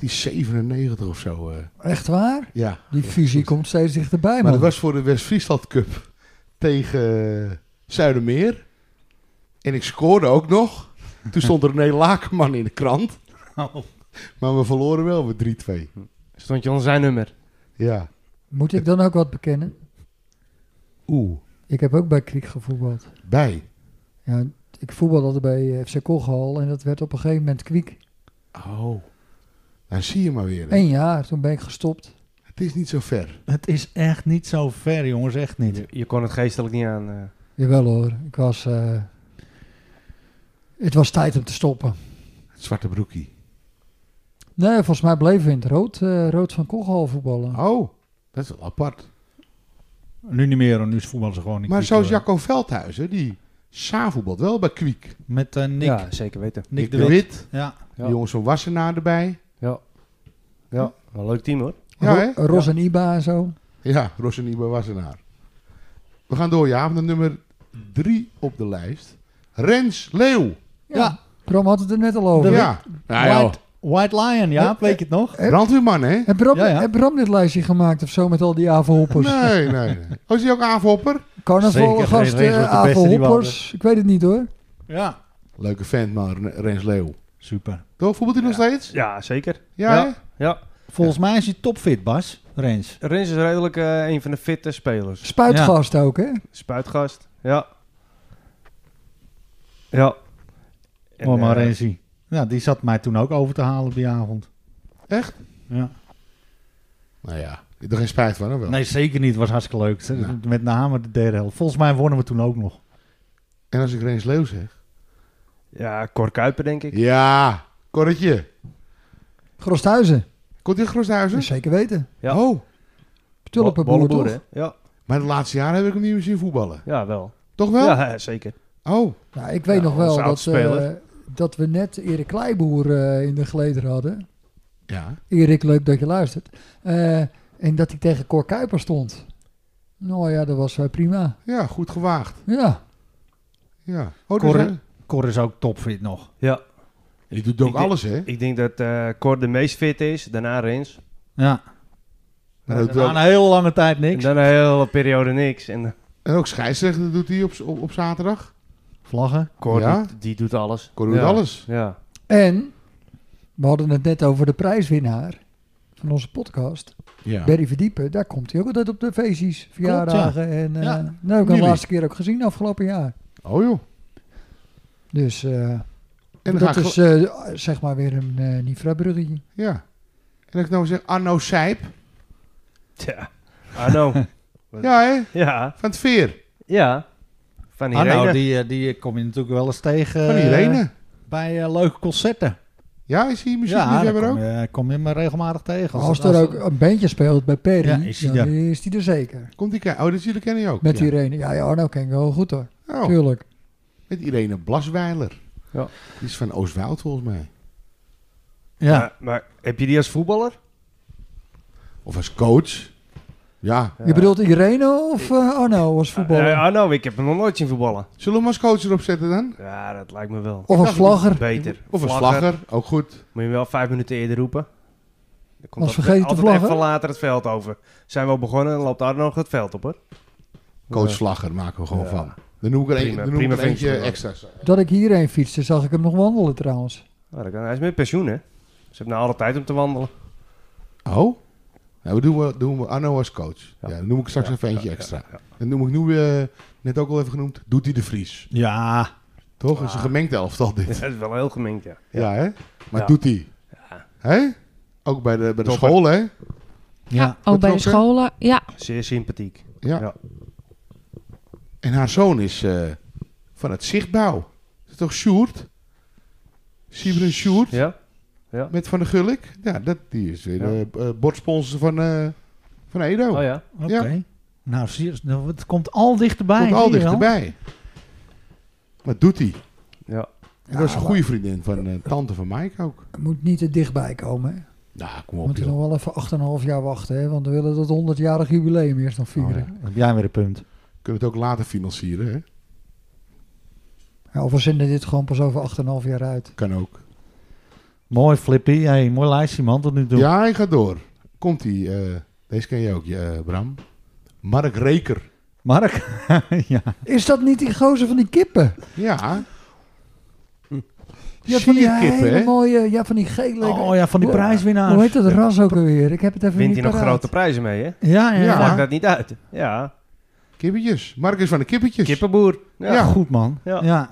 E: 1997 of zo. eh,
D: Echt waar?
E: ja.
D: Die fusie komt steeds dichterbij,
E: Maar
D: man.
E: dat was voor de West-Friesland Cup tegen eh, Zuidermeer. En ik scoorde ook nog. Toen stond er een Lakenman in de krant. Maar we verloren wel met 3-2.
C: Stond je onder zijn nummer?
E: Ja.
D: Moet ik dan ook wat bekennen?
E: Oeh.
D: Ik heb ook bij Kriek gevoetbald.
E: Bij.
D: Ja, ik voetbalde altijd bij eh, FC Kochal en dat werd op een gegeven moment Kriek.
E: Oh. Dan zie je maar weer. hè.
D: Eén jaar, toen ben ik gestopt.
E: Het is niet zo ver.
B: Het is echt niet zo ver, jongens. Echt niet.
C: Je, je kon het geestelijk niet aan. eh.
D: Jawel hoor, ik was... eh, het was tijd om te stoppen.
E: Het zwarte broekie.
D: Nee, volgens mij bleven we in het rood, eh, rood van Kochal voetballen.
E: Oh, dat is wel apart.
B: Nu niet meer, hoor. nu is voetbal ze gewoon niet.
E: Maar
B: goed,
E: zoals
B: hoor.
E: Jacco Veldhuizen, die voetbalt wel bij Kwiek. Nick,
B: Met eh, Nick,
C: Ja, zeker weten.
B: Nick, de Wit. Ja.
E: die
C: Ja.
E: jongens van Wassenaar erbij.
C: Ja. ja. Hm. Wel een leuk team hoor.
E: Ja,
D: Ro-
E: hè?
D: Ros en Iba en zo.
E: Ja, Rossini bij Wassenaar. We gaan door, ja, naar nummer drie op de lijst. Rens Leeuw.
D: Ja. Bram had het er net al over.
E: ja, nou,
B: White, White Lion, ja,
D: Eh,
B: weet je het nog?
E: ja. brandweerman, hè?
D: Heb Bram,
B: Ja, ja.
D: heb Bram dit lijstje gemaakt of zo met al die avondhoppers?
E: Nee, nee, nee. Oh, is hij ook aanvopper?
D: Carnaval,
B: Zeker, geen regel,
D: gasten,
B: de beste die we
D: avondhoppers. eh, Ik weet het niet hoor.
B: Ja.
E: Leuke vent, man, Ren- Rens Leeuw.
B: Super.
E: Toch, voetbalt hij nog steeds?
C: Ja, zeker.
E: Ja,
C: Ja.
E: hè?
C: Ja.
B: Volgens mij is hij topfit, Bas. Rens.
C: Rens is redelijk eh, een van de fitte spelers.
D: Spuitgast ook hè?
C: Spuitgast. Ja. Ja. En,
B: oh, maar
C: eh,
B: Rensie. Ja, die zat mij toen ook over te halen die avond.
E: Echt?
B: Ja.
E: Nou ja, ik heb er geen spijt van, hè, wel.
B: Nee, zeker niet. was hartstikke leuk.
E: Ja.
B: Met name de derde helft. Volgens mij wonnen we toen ook nog.
E: En als ik Rens Leeuw zeg?
C: Ja, Cor Kuiper denk ik.
E: Ja, Korretje.
D: Grosthuizen,
E: Komt hij uit Groshuizen?
D: dat zeker weten.
C: Ja.
E: Oh,
D: Tulpenboer
C: Bolleboer,
D: toch?
C: hè? Ja.
E: maar de laatste jaren heb ik hem niet meer zien voetballen.
C: ja, wel.
E: Toch wel?
C: Ja, hè, zeker.
E: Oh,
D: Nou, ik weet
C: Ja,
D: nog wel
C: onze
D: dat,
C: oudspeler.
D: eh, dat we net Erik Kleiboer eh, in de geleden hadden.
E: ja.
D: Erik, leuk dat je luistert. Eh, en dat hij tegen Cor Kuiper stond. Nou ja, dat was eh, prima.
E: Ja, goed gewaagd.
D: Ja.
E: Ja. Oh,
B: Cor-
E: dus, hè?
B: Cor is ook topfit nog.
C: Ja.
E: Die doet ook
C: Ik denk-
E: alles, hè?
C: Ik denk dat eh Cor de meest fit is. Daarna Rens.
B: Ja.
E: Maar dat wel-
B: Na een hele lange tijd
C: En
B: niks.
C: dan een hele periode niks. En eh,
E: En ook scheidsrechter doet hij op, z- op, op zaterdag.
B: Vlaggen.
C: Cor,
E: Ja?
C: die, die doet alles.
E: Cor doet
C: Ja.
E: alles.
C: Ja.
D: En we hadden het net over de prijswinnaar van onze podcast.
E: Ja.
D: Berry Verdiepen, daar komt hij ook altijd op de feestjes, verjaardagen. En eh
B: Ja.
D: nou, dat heb ik hem
E: Jullie.
D: de laatste keer ook gezien afgelopen jaar.
E: Oh joh.
D: Dus eh,
E: En dan ga
D: dat
E: ik
D: is
E: gel-
D: eh, zeg maar weer een eh Nifra-bruggetje.
E: Ja. En ik nou zeg Arno Sijp.
C: Tja. Arno.
E: Ja hè?
C: ja.
E: Van het veer.
C: Ja. Van Irene.
B: Arno, die, eh, die kom je natuurlijk wel eens tegen
E: Van
B: eh,
E: Irene.
B: bij eh, leuke concerten.
E: Ja, is hij
B: ja,
E: muziekliefhebber
B: daar
E: ook?
B: kom je, eh, kom je me regelmatig tegen.
D: Als er ook een bandje speelt bij Perry,
B: Ja, is hij
D: dan
B: er.
D: is hij er zeker.
E: Komt die kijken? Oh, dat jullie kennen je ook.
D: Met
E: ja.
D: Irene. Ja, ja, Arno ken ik wel goed hoor.
E: Oh,
D: Tuurlijk.
E: met Irene Blasweiler.
C: Ja.
E: Die is van Oostwoud volgens mij.
B: Ja,
C: Maar, maar heb je die als voetballer?
E: Of als coach. Ja.
D: Je bedoelt Irene of eh, Arno als voetballer?
C: Eh, Arno, ik heb hem nog nooit zien voetballen.
E: Zullen we hem als coach erop zetten dan?
C: Ja, dat lijkt me wel.
D: Of als vlagger?
C: Beter.
E: Of als vlagger. Ook goed.
C: Moet je hem wel vijf minuten eerder roepen. Dan komt
D: Als
C: dat-
D: vergeten te
C: altijd
D: vlaggen.
C: even later het veld over. Zijn we al begonnen, dan loopt Arno nog het veld op hoor.
E: Coach
C: Ja.
E: Vlagger maken we gewoon
C: Ja.
E: van. Dan noem ik er, een,
C: Prima-
E: dan noem ik
C: prima
E: er eentje
C: functie.
E: extra.
D: Dat ik hierheen fietste, zag ik hem nog wandelen trouwens.
C: Nou, dat kan- hij is met pensioen hè. Ze hebben nou alle tijd om te wandelen.
E: Oh? Nou, we doen, we, doen we Arno als coach. Ja.
C: Ja.
E: dan noem ik straks
C: Ja,
E: even eentje
C: ja,
E: extra.
C: ja,
E: Dan noem ik nu, eh, net ook al even genoemd, Doet hij de Vries.
B: ja.
E: Toch? Dat is een gemengd elftal dit.
C: ja.
E: Ja,
C: Dat is wel heel gemengd Ah. ja.
E: hè? Maar
C: Ja.
E: doet hij? Hè? Ook bij de, bij de
C: Topper.
E: school, hè?
F: Ja,
E: Dat
F: ook bij de
E: klopt, hè?
F: scholen. Ja,
C: Zeer sympathiek.
E: Ja.
C: Ja.
E: En haar zoon is eh, van het zichtbouw. Is het toch Sjoerd? Sibren Sjoerd?
C: Ja?
E: Met Van de Gulik? Ja, dat, die is weer
C: Ja.
E: de bordsponsor van, eh, van Edo.
C: Oh ja.
B: Oké.
E: Ja.
B: Nou, zie je, nou, het komt al dichterbij.
E: Komt al
B: zie je wel.
E: dichterbij. Maar doet hij?
C: Ja.
E: En dat is een goede vriendin van eh, tante van Mike ook.
D: Het moet niet te dichtbij komen. Hè?
E: Nou, kom
D: We
E: op.
D: moeten
E: joh.
D: nog wel even 8,5 jaar wachten, hè? want we willen dat 100-jarig jubileum eerst nog vieren.
B: Oh, ja. Heb jij weer een punt?
E: Kunnen we het ook later financieren, hè?
D: Ja, of we zenden dit gewoon pas over 8,5 jaar uit.
E: Kan ook.
B: Mooi Flippy. Hey, mooi lijstje man tot nu toe.
E: Ja, hij gaat door. Komt-ie. eh, deze ken je ook, eh, Bram. Mark Reker.
B: Mark? ja.
D: Is dat niet die gozer van die kippen?
E: Ja.
D: Ja, van die
E: Sierkippen,
D: hele
E: hè?
D: mooie, ja, van die gele.
B: Oh ja, van die
D: Hoe-
B: prijswinnaars.
D: Hoe heet dat ras ook alweer? Ik heb het even
C: Wint
D: niet
C: hij nog
D: paraat.
C: grote prijzen mee hè?
B: Ja, ja,
E: Ja.
B: ja.
C: Maakt dat niet uit. Ja.
E: Kippetjes. Mark is van de
D: Dus-
E: kippetjes.
C: Kippenboer. Ja.
E: Ja.
B: Goed man. Ja.
C: Ja.
E: Ja,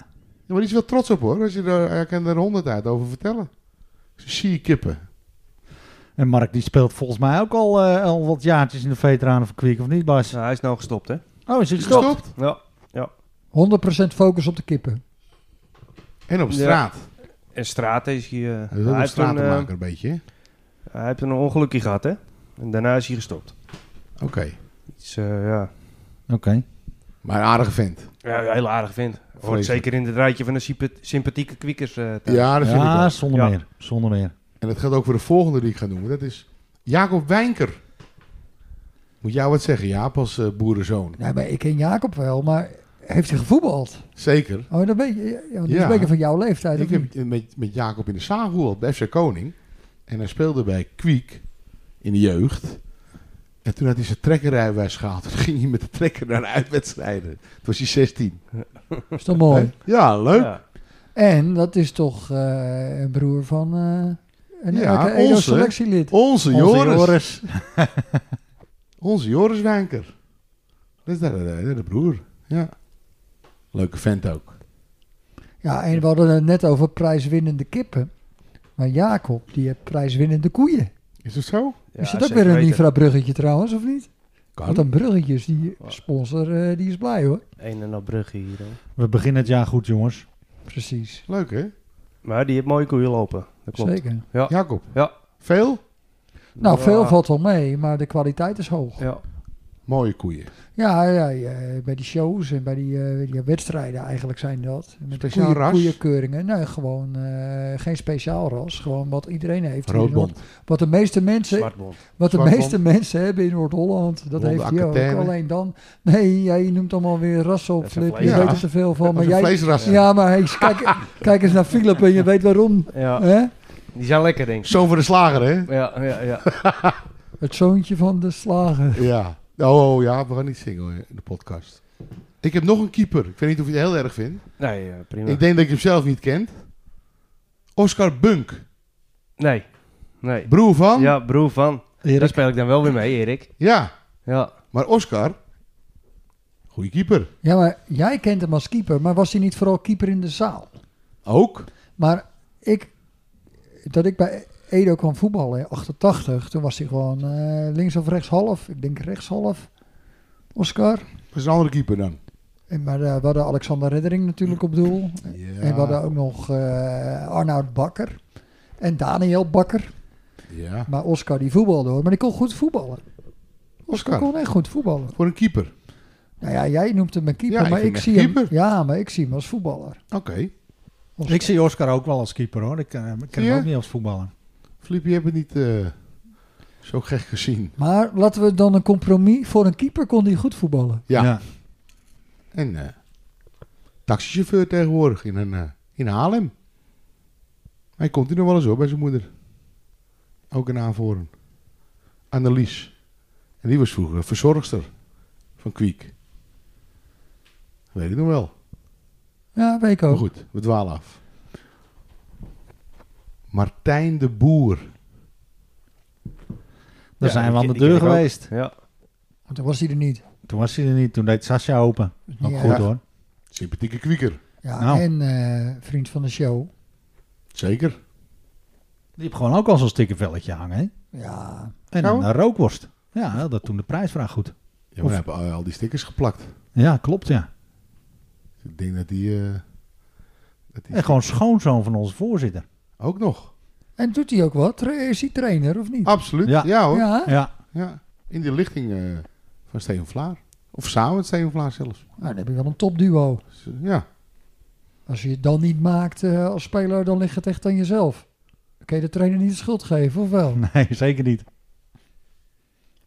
E: maar die is wel trots op, hoor. Als je er, hij kan er honderd uit over vertellen. Zie kippen.
B: En Mark die speelt volgens mij ook al, eh, al wat jaartjes in de veteranen van Kwiek, of niet Bas?
C: Nou, hij is nou gestopt hè.
B: Oh, is hij
E: Is
B: gestopt?
E: gestopt.
D: 100% focus op de kippen.
E: En op
C: Ja.
E: straat.
C: En straat is hij... eh,
E: Dat is ook
C: hij, heeft
E: een
C: een,
E: stratenmaker een beetje, hè?
C: eh, hij heeft een ongelukje gehad hè. En daarna is hij gestopt.
E: Oké.
C: Dus eh, ja.
B: Oké.
E: Maar een aardige vent.
C: Ja, een heel aardig vind. Wordt
E: Vreselijk.
C: zeker in het rijtje van de sypa- sympathieke kwiekers. eh, thuis.
E: Ja, dat vind ik
B: Ja,
E: wel.
B: zonder
C: Ja.
B: meer. Zonder meer.
E: En dat geldt ook voor de volgende die ik ga noemen. Dat is Jacob Wijnker. Moet jou wat zeggen, Jaap, als eh, boerenzoon?
D: Nee, maar ik ken Jacob wel, maar heeft hij gevoetbald?
E: Zeker.
D: Oh, dat weet je. Ja, want die
E: Ja.
D: is een beetje van jouw leeftijd.
E: Ik
D: of niet?
E: heb met, met Jacob in de zaal gehoord bij FC Koning. En hij speelde bij Kwiek in de jeugd. En toen had hij zijn trekkerrijbewijs gehaald. Toen ging hij met de trekker naar de uitwedstrijden. Toen was hij 16.
D: Dat is toch mooi.
E: Ja, leuk.
C: Ja.
D: En dat is toch eh, een broer van eh, een
E: Ja,
D: elke EO
E: onze.
D: selectielid.
E: Onze,
B: Onze
E: Joris.
B: Joris.
E: Onze Joris Wijnker. Dat is daar, eh, de broer. Ja. Leuke vent ook.
D: Ja, en we hadden het net over prijswinnende kippen. Maar Jacob, die heeft prijswinnende koeien.
E: Is dat zo?
C: Ja,
D: is dat ook
C: zeker
D: weer een
C: weten.
D: Livra-bruggetje trouwens, of niet?
E: Kan.
D: Want een bruggetje is die sponsor, eh, die is blij hoor.
C: Een en al bruggen hier. hoor.
B: We beginnen het jaar goed jongens.
D: Precies.
E: Leuk, hè?
C: Maar die heeft mooie koeien lopen. Dat klopt. Nou,
D: Zeker.
E: Jacob.
C: Ja.
E: Veel?
D: Nou,
C: Ja.
D: veel valt wel mee, maar de kwaliteit is hoog.
C: Ja.
E: Mooie koeien.
D: Ja, ja, ja, bij die shows en bij die, eh, weet je, wedstrijden eigenlijk zijn dat. Met de
E: Speciaal
D: koeien,
E: ras?
D: koeienkeuringen. Nee, gewoon eh, geen speciaal ras. Gewoon wat iedereen heeft. hier in
E: Roodbond.
D: Noord- Wat de meeste mensen,
C: Zwartbond.
D: wat de
E: zwartbond.
D: meeste mensen hebben in Noord-Holland. Dat
E: Blonde
D: heeft hij ook.
E: Aquitaine.
D: Alleen dan... Nee, jij noemt allemaal weer rassen op,
C: Dat is een
D: Flip. Je
E: vlees-
D: weet
E: Ja.
D: er te veel van.
E: Als
D: Maar
E: een
D: jij...
E: vleesras.
D: Ja, maar hey, kijk, kijk eens naar Philip en je weet waarom.
C: Ja,
D: hè?
C: die zijn lekker, denk ik.
E: Zoon van de slager, hè?
C: Ja, ja, ja.
D: Het zoontje van de slager.
E: Ja. Oh, oh, ja, we gaan niet zingen hoor, in de podcast. Ik heb nog een keeper. Ik weet niet of je het heel erg vindt.
C: Nee, eh, prima.
E: Ik denk dat je hem zelf niet kent. Oscar Bunk.
C: Nee, nee.
E: Broer van?
C: Ja, broer van. Daar speel ik dan wel weer mee, Erik.
E: Ja,
C: Ja.
E: Maar Oscar, goede keeper.
D: Ja, maar jij kent hem als keeper, maar was hij niet vooral keeper in de zaal?
E: Ook.
D: Maar ik, dat ik bij Edo kwam voetballen in 88, toen was hij gewoon eh, links of rechts half. Ik denk rechts half. Oscar.
E: Dat is een andere keeper dan.
D: En, maar eh, we hadden Alexander Reddering natuurlijk op doel.
E: Ja.
D: En we hadden ook nog eh, Arnoud Bakker. En Daniel Bakker.
E: ja.
D: Maar Oscar die voetbalde hoor. Maar die kon goed voetballen. Oscar
E: Oscar,
D: kon echt goed voetballen.
E: voor een keeper.
D: Nou ja, jij noemt hem een keeper.
E: Ja, ik
D: maar
E: vind
D: ik
E: hem
D: zie
E: echt
D: hem,
E: keeper.
D: ja, maar ik zie hem als voetballer.
E: Oké.
D: Oscar.
B: Ik zie Oscar ook wel als keeper hoor. Ik eh, ik ken
E: Ja?
B: hem ook niet als voetballer.
E: Filip, je hebt het niet eh, zo gek gezien.
D: Maar laten we dan een compromis. Voor een keeper kon hij goed voetballen.
E: Ja. En eh, taxichauffeur tegenwoordig in, een, eh, in Haarlem. Hij komt hier nog wel eens hoor, bij zijn moeder. Ook in Aanvoren. Annelies. En die was vroeger verzorgster van Kwiek. Weet ik nog wel.
D: Ja, weet ik
E: Maar
D: ook.
E: goed, we dwalen af. Martijn de Boer.
B: Daar
C: Ja,
B: zijn
C: die
B: we aan
C: ken- die
B: de
C: ken
B: deur
C: ik ook.
B: geweest.
C: Ja.
D: Want toen was hij er niet.
B: Toen was hij er niet. Toen deed Sascha open. Ook
D: Ja.
B: goed hoor.
E: Sympathieke kwieker.
D: Ja,
B: Nou.
D: en eh, vriend van de show.
E: Zeker.
B: Die heeft gewoon ook al zo'n stikkervelletje hangen. Hè?
D: Ja,
B: En
E: Zo?
B: een eh, rookworst. Ja, dat toen de prijsvraag goed.
E: Ja, maar we hebben al al die stickers geplakt.
B: Ja, klopt ja.
E: Ik denk dat die... eh, dat die
B: En gewoon schoonzoon van onze voorzitter.
E: Ook nog.
D: en doet hij ook wat? Tra- Is hij trainer of niet?
E: Absoluut.
B: Ja.
E: Ja, hoor. Ja.
D: ja,
B: Ja,
E: In de lichting eh, van Steven Vlaar. Of samen met Steven Vlaar zelfs.
D: nou, dan heb je wel een topduo.
E: Dus, eh, ja.
D: Als je het dan niet maakt eh, als speler, dan ligt het echt aan jezelf. Dan Kun je de trainer niet de schuld geven, of wel?
B: nee, zeker niet.
E: Dat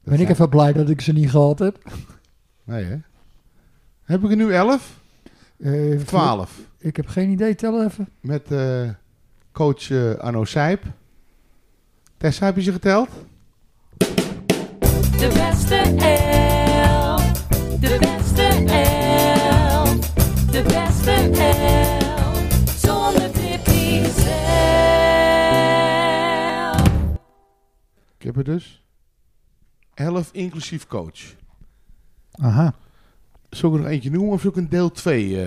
D: Ben ik
E: zijn-
D: even blij dat ik ze niet gehad heb.
E: Nee, hè? Heb ik er nu 11?
D: Eh,
E: 12.
D: Ik heb geen idee, tel even.
E: Met eh, coach eh, Arno Sijp. Tessa, heb je ze geteld?
H: De beste elf. De beste elf. De beste elf. Zonder Tippy zelf.
E: Ik heb er dus 11 inclusief coach.
B: Aha.
E: Zullen we er nog eentje noemen of zoek een deel 2?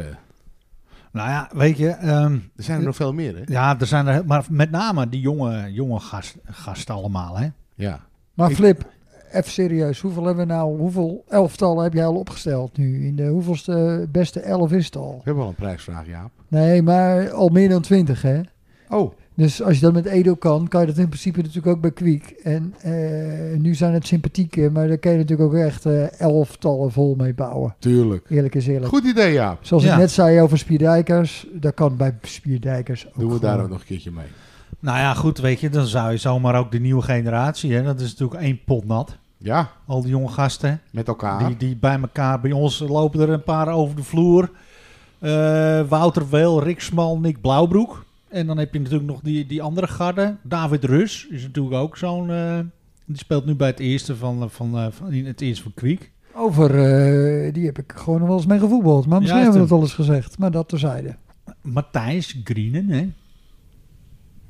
B: Nou ja, weet je, ehm,
E: er zijn er nog veel meer, hè?
B: ja, er zijn er, heel- maar met name die jonge, jonge gast, gasten allemaal, hè?
E: Ja.
D: Maar
E: Ik-
D: Flip, even serieus. Hoeveel hebben we nou, hoeveel elftallen heb jij al opgesteld nu? In de hoeveelste beste elf is het al?
E: We hebben al een prijsvraag, Jaap.
D: Nee, maar al meer dan twintig, hè?
E: Oh,
D: Dus als je dat met Edo kan, kan je dat in principe natuurlijk ook bij Kwiek. En eh, nu zijn het sympathieke, maar daar kan je natuurlijk ook echt eh, elftallen vol mee bouwen.
E: tuurlijk.
D: Eerlijk is eerlijk.
E: Goed idee, Jaap.
D: Zoals
B: Ja.
D: ik net zei over Spierdijkers, dat kan bij Spierdijkers ook.
E: Doen we daar
D: gewoon.
E: ook nog een keertje mee.
B: Nou ja, goed, weet je, dan zou je zomaar ook de nieuwe generatie, hè? Dat is natuurlijk één pot nat.
E: Ja,
B: Al die jonge gasten,
E: met elkaar.
B: die, die bij elkaar, bij ons lopen er een paar over de vloer. Eh, Wouter Weel, Rick Smal, Nick Blauwbroek. En dan heb je natuurlijk nog die, die andere garde. David Rus is natuurlijk ook zo'n... eh, die speelt nu bij het eerste van, eh, van, eh, van in het eerste van Kwiek.
D: Over, eh, die heb ik gewoon nog wel eens mee gevoetbald. Maar misschien
B: Ja,
D: hebben we
B: toen-
D: dat al eens gezegd, maar dat terzijde.
B: Matthijs Grienen, hè?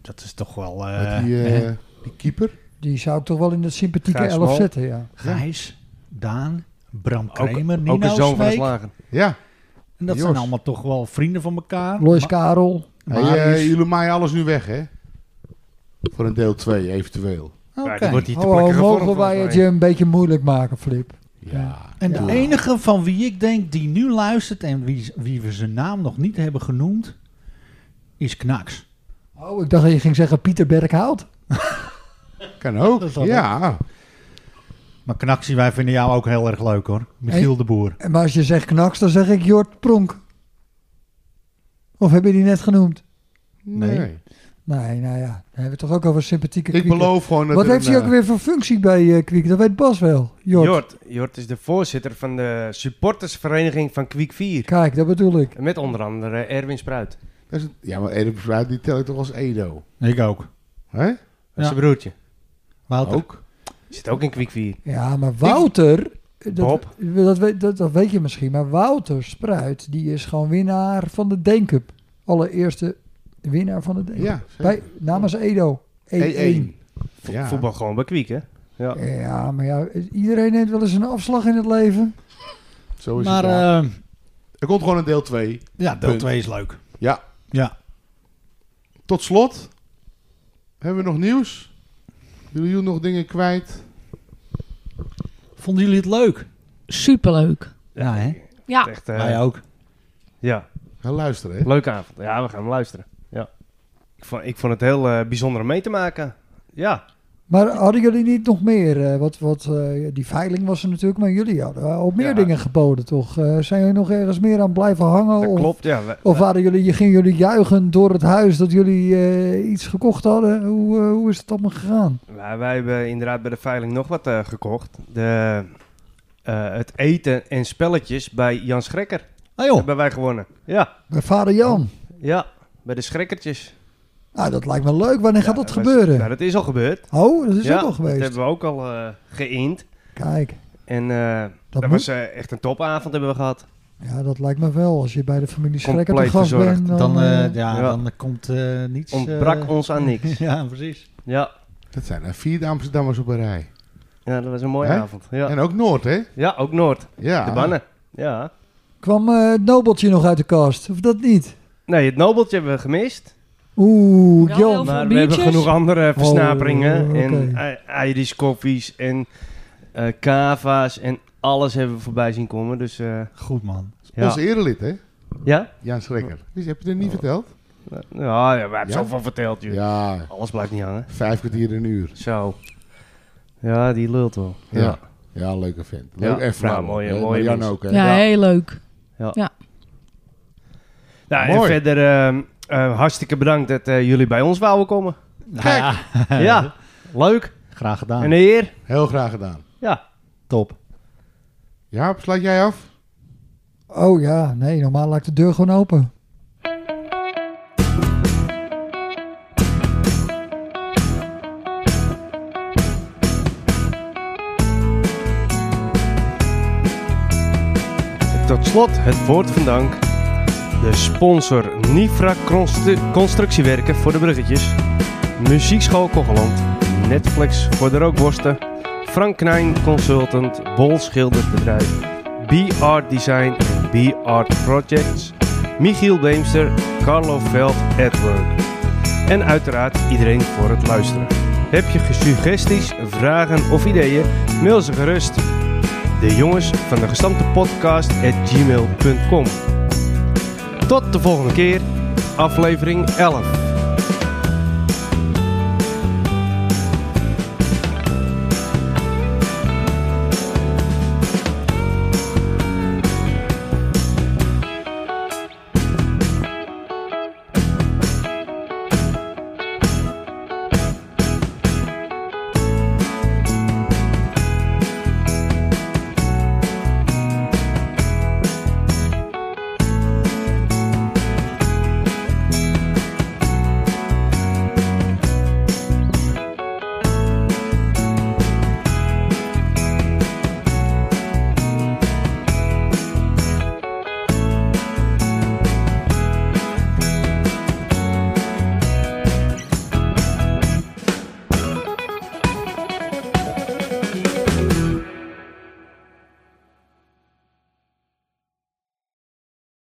B: Dat is toch wel... eh,
E: Met die, eh,
B: hè?
E: die keeper.
D: Die zou ik toch wel in het sympathieke
C: Gijs
D: elf
C: Mal.
D: zetten, ja.
B: Gijs, Daan, Bram
C: Ook,
B: Kramer, Nino
C: ook een zoon van de
B: Smeek.
C: slager.
E: Ja.
B: En dat
E: Jos.
B: zijn allemaal toch wel vrienden van elkaar.
D: Lois
B: Ma-
D: Karel.
E: Hey,
B: Marius.
E: eh, jullie maaien alles nu weg, hè? Voor een deel 2, eventueel.
C: Ja,
B: Oké.
C: die wordt hier te
D: Oh,
C: plekken gevormd,
D: mogen wij het
C: volgens
D: je
C: mij.
D: een beetje moeilijk maken, Flip?
E: Ja.
B: En de
E: tuurlijk.
B: enige van wie ik denk die nu luistert en wie, wie we zijn naam nog niet hebben genoemd, is Knaks.
D: Oh, ik dacht dat je ging zeggen Pieter Berghout.
E: Kan ook.
B: Dat zal
E: ja.
B: Maar Knaksie, wij vinden jou ook heel erg leuk hoor. Michiel de Boer.
D: En Maar als je zegt knaks, dan zeg ik Jort Pronk. Of heb je die net genoemd?
E: Nee.
D: Nee, nou ja, daar hebben we het toch ook over sympathieke
E: Ik
D: Kwieken.
E: beloof gewoon dat
D: Wat
E: er
D: heeft
E: een,
D: hij ook
E: eh,
D: weer voor functie bij eh Kwiek? Dat weet Bas wel. Jort.
C: Jort. Jort is de voorzitter van de supportersvereniging van Kwiek 4.
D: Kijk, dat bedoel ik.
C: Met onder andere Erwin Spruit.
E: dat is een- Ja, maar Edo Besluit, die tel ik toch als Edo.
B: Ik ook.
E: Hè?
C: Dat is
B: Ja.
C: zijn broertje.
B: Wouter.
E: Ook.
C: Zit ook in Kwikwier.
D: Ja, maar Wouter. Dat,
C: Bob.
D: dat, weet- dat, dat weet je misschien, maar Wouter Spruit, die is gewoon winnaar van de Deen Cup. Allereerste winnaar van de Deen Cup.
E: Ja, E
D: Bij, namens Edo. 1-1.
E: 1
C: Vo-
E: Ja.
C: Voetbal gewoon bij Kwiek, hè? Ja.
D: Ja, maar ja, iedereen neemt wel eens een afslag in het leven.
E: Zo is
B: Maar
E: het. ja.
B: eh,
E: Er komt gewoon een deel 2.
B: ja, deel
E: Punt.
B: 2 is leuk.
E: Ja.
B: Ja.
E: Tot slot. Hebben we nog nieuws? Willen jullie nog dingen kwijt?
B: Vonden jullie het leuk?
F: Superleuk.
B: Ja, hè?
F: Ja,
C: Echt, eh,
B: Wij ook.
C: ja,
E: Ga luisteren, hè?
C: leuke avond. Ja, we gaan hem luisteren. Ja. Ik vond, ik vond het heel eh, bijzonder om mee te maken. Ja,
D: Maar hadden jullie niet nog meer? eh, wat, wat, eh, die veiling was er natuurlijk, maar jullie hadden eh, ook meer
C: Ja.
D: dingen geboden, toch? Eh, zijn jullie nog ergens meer aan blijven hangen?
C: dat
D: of
C: klopt. Ja, we-
D: Oh. of waren jullie, gingen jullie juichen door het huis dat jullie eh, iets gekocht hadden? Hoe, eh, hoe is het allemaal gegaan?
C: wij, wij hebben inderdaad bij de veiling nog wat eh, gekocht. De, eh, het eten en spelletjes bij Jan Schrekker
B: Ah joh,
C: hebben wij gewonnen. Oh. Ja,
D: Bij vader Jan.
C: ja bij de Schrekkertjes.
D: Nou, dat lijkt me leuk. Wanneer gaat
C: Ja,
D: dat gebeuren?
C: Nou, dat is al gebeurd.
D: Oh, dat is
C: ja,
D: ook al
C: Dat
D: geweest.
C: hebben we ook al eh geïnd.
D: Kijk,
C: En eh, dat,
D: moet-
C: was eh, echt een topavond hebben we gehad.
D: ja, dat lijkt me wel. Als je bij de familie Schrekker te
C: Compleet
D: gast
C: verzorgd.
D: bent, dan...
B: dan,
D: eh,
B: eh, ja,
C: ja.
B: dan komt eh,
C: Dus,
B: niets... eh,
C: Ontbrak ons aan niks.
B: ja, precies.
C: Ja,
E: Dat zijn er vier Amsterdammers op een rij.
C: ja dat was een mooie
E: Hè?
C: avond. Ja.
E: En ook Noord, hè?
C: ja, ook Noord.
E: Ja.
D: Ah.
C: De bannen. Ja.
D: Kwam eh, het nobeltje nog uit de kast? Of dat niet?
C: Nee, het nobeltje hebben we gemist.
D: Oeh,
F: Wel
D: Jan.
F: heel
C: Maar we
F: biertjes?
C: hebben genoeg andere versnaperingen.
D: Oh,
C: En
D: oké.
C: I- Irish koffies en eh kava's en alles hebben we voorbij zien komen. Dus eh,
B: Goed man.
C: ja.
E: Onze erelid, hè?
C: Ja?
E: Jan Schrekker. Dus heb je het niet verteld?
C: Ja, ja, we hebben
E: Ja?
C: zoveel verteld, joh.
E: Ja,
C: Alles blijft niet hangen.
E: vijf kwartier een uur.
C: Zo. Ja, die lult wel.
E: Ja. Ja, leuke vent. Leuk
C: Ja,
E: en vrouw.
C: maar mooie-
E: hè?
C: mooie
E: Maar Jan
C: mensen.
E: ook, hè?
F: ja, heel leuk.
C: Nou, en
E: Mooi.
C: verder ehm, eh, hartstikke bedankt dat eh, jullie bij ons wouden komen.
B: Nou
E: Kijk.
B: ja,
C: ja, leuk.
B: graag gedaan.
C: Een eer.
E: Heel graag gedaan.
C: Ja.
B: Top.
E: Jaap, sluit jij af?
D: Oh ja, nee, normaal laat ik de deur gewoon open.
C: Tot slot het woord van dank. De sponsor Nifra Constru- Constructiewerken voor de bruggetjes. Muziekschool Kogeland. Netflix voor de rookworsten. Frank Knijn Consultant. Bol Schildersbedrijf. B-Art Design en B-Art Projects. Michiel Beemster. Carlo Veld at Work. En uiteraard iedereen voor het luisteren. Heb je suggesties, vragen of ideeën? Mail ze gerust de jongens van de gestampte podcast at gmail.com. Tot de volgende keer, aflevering 11.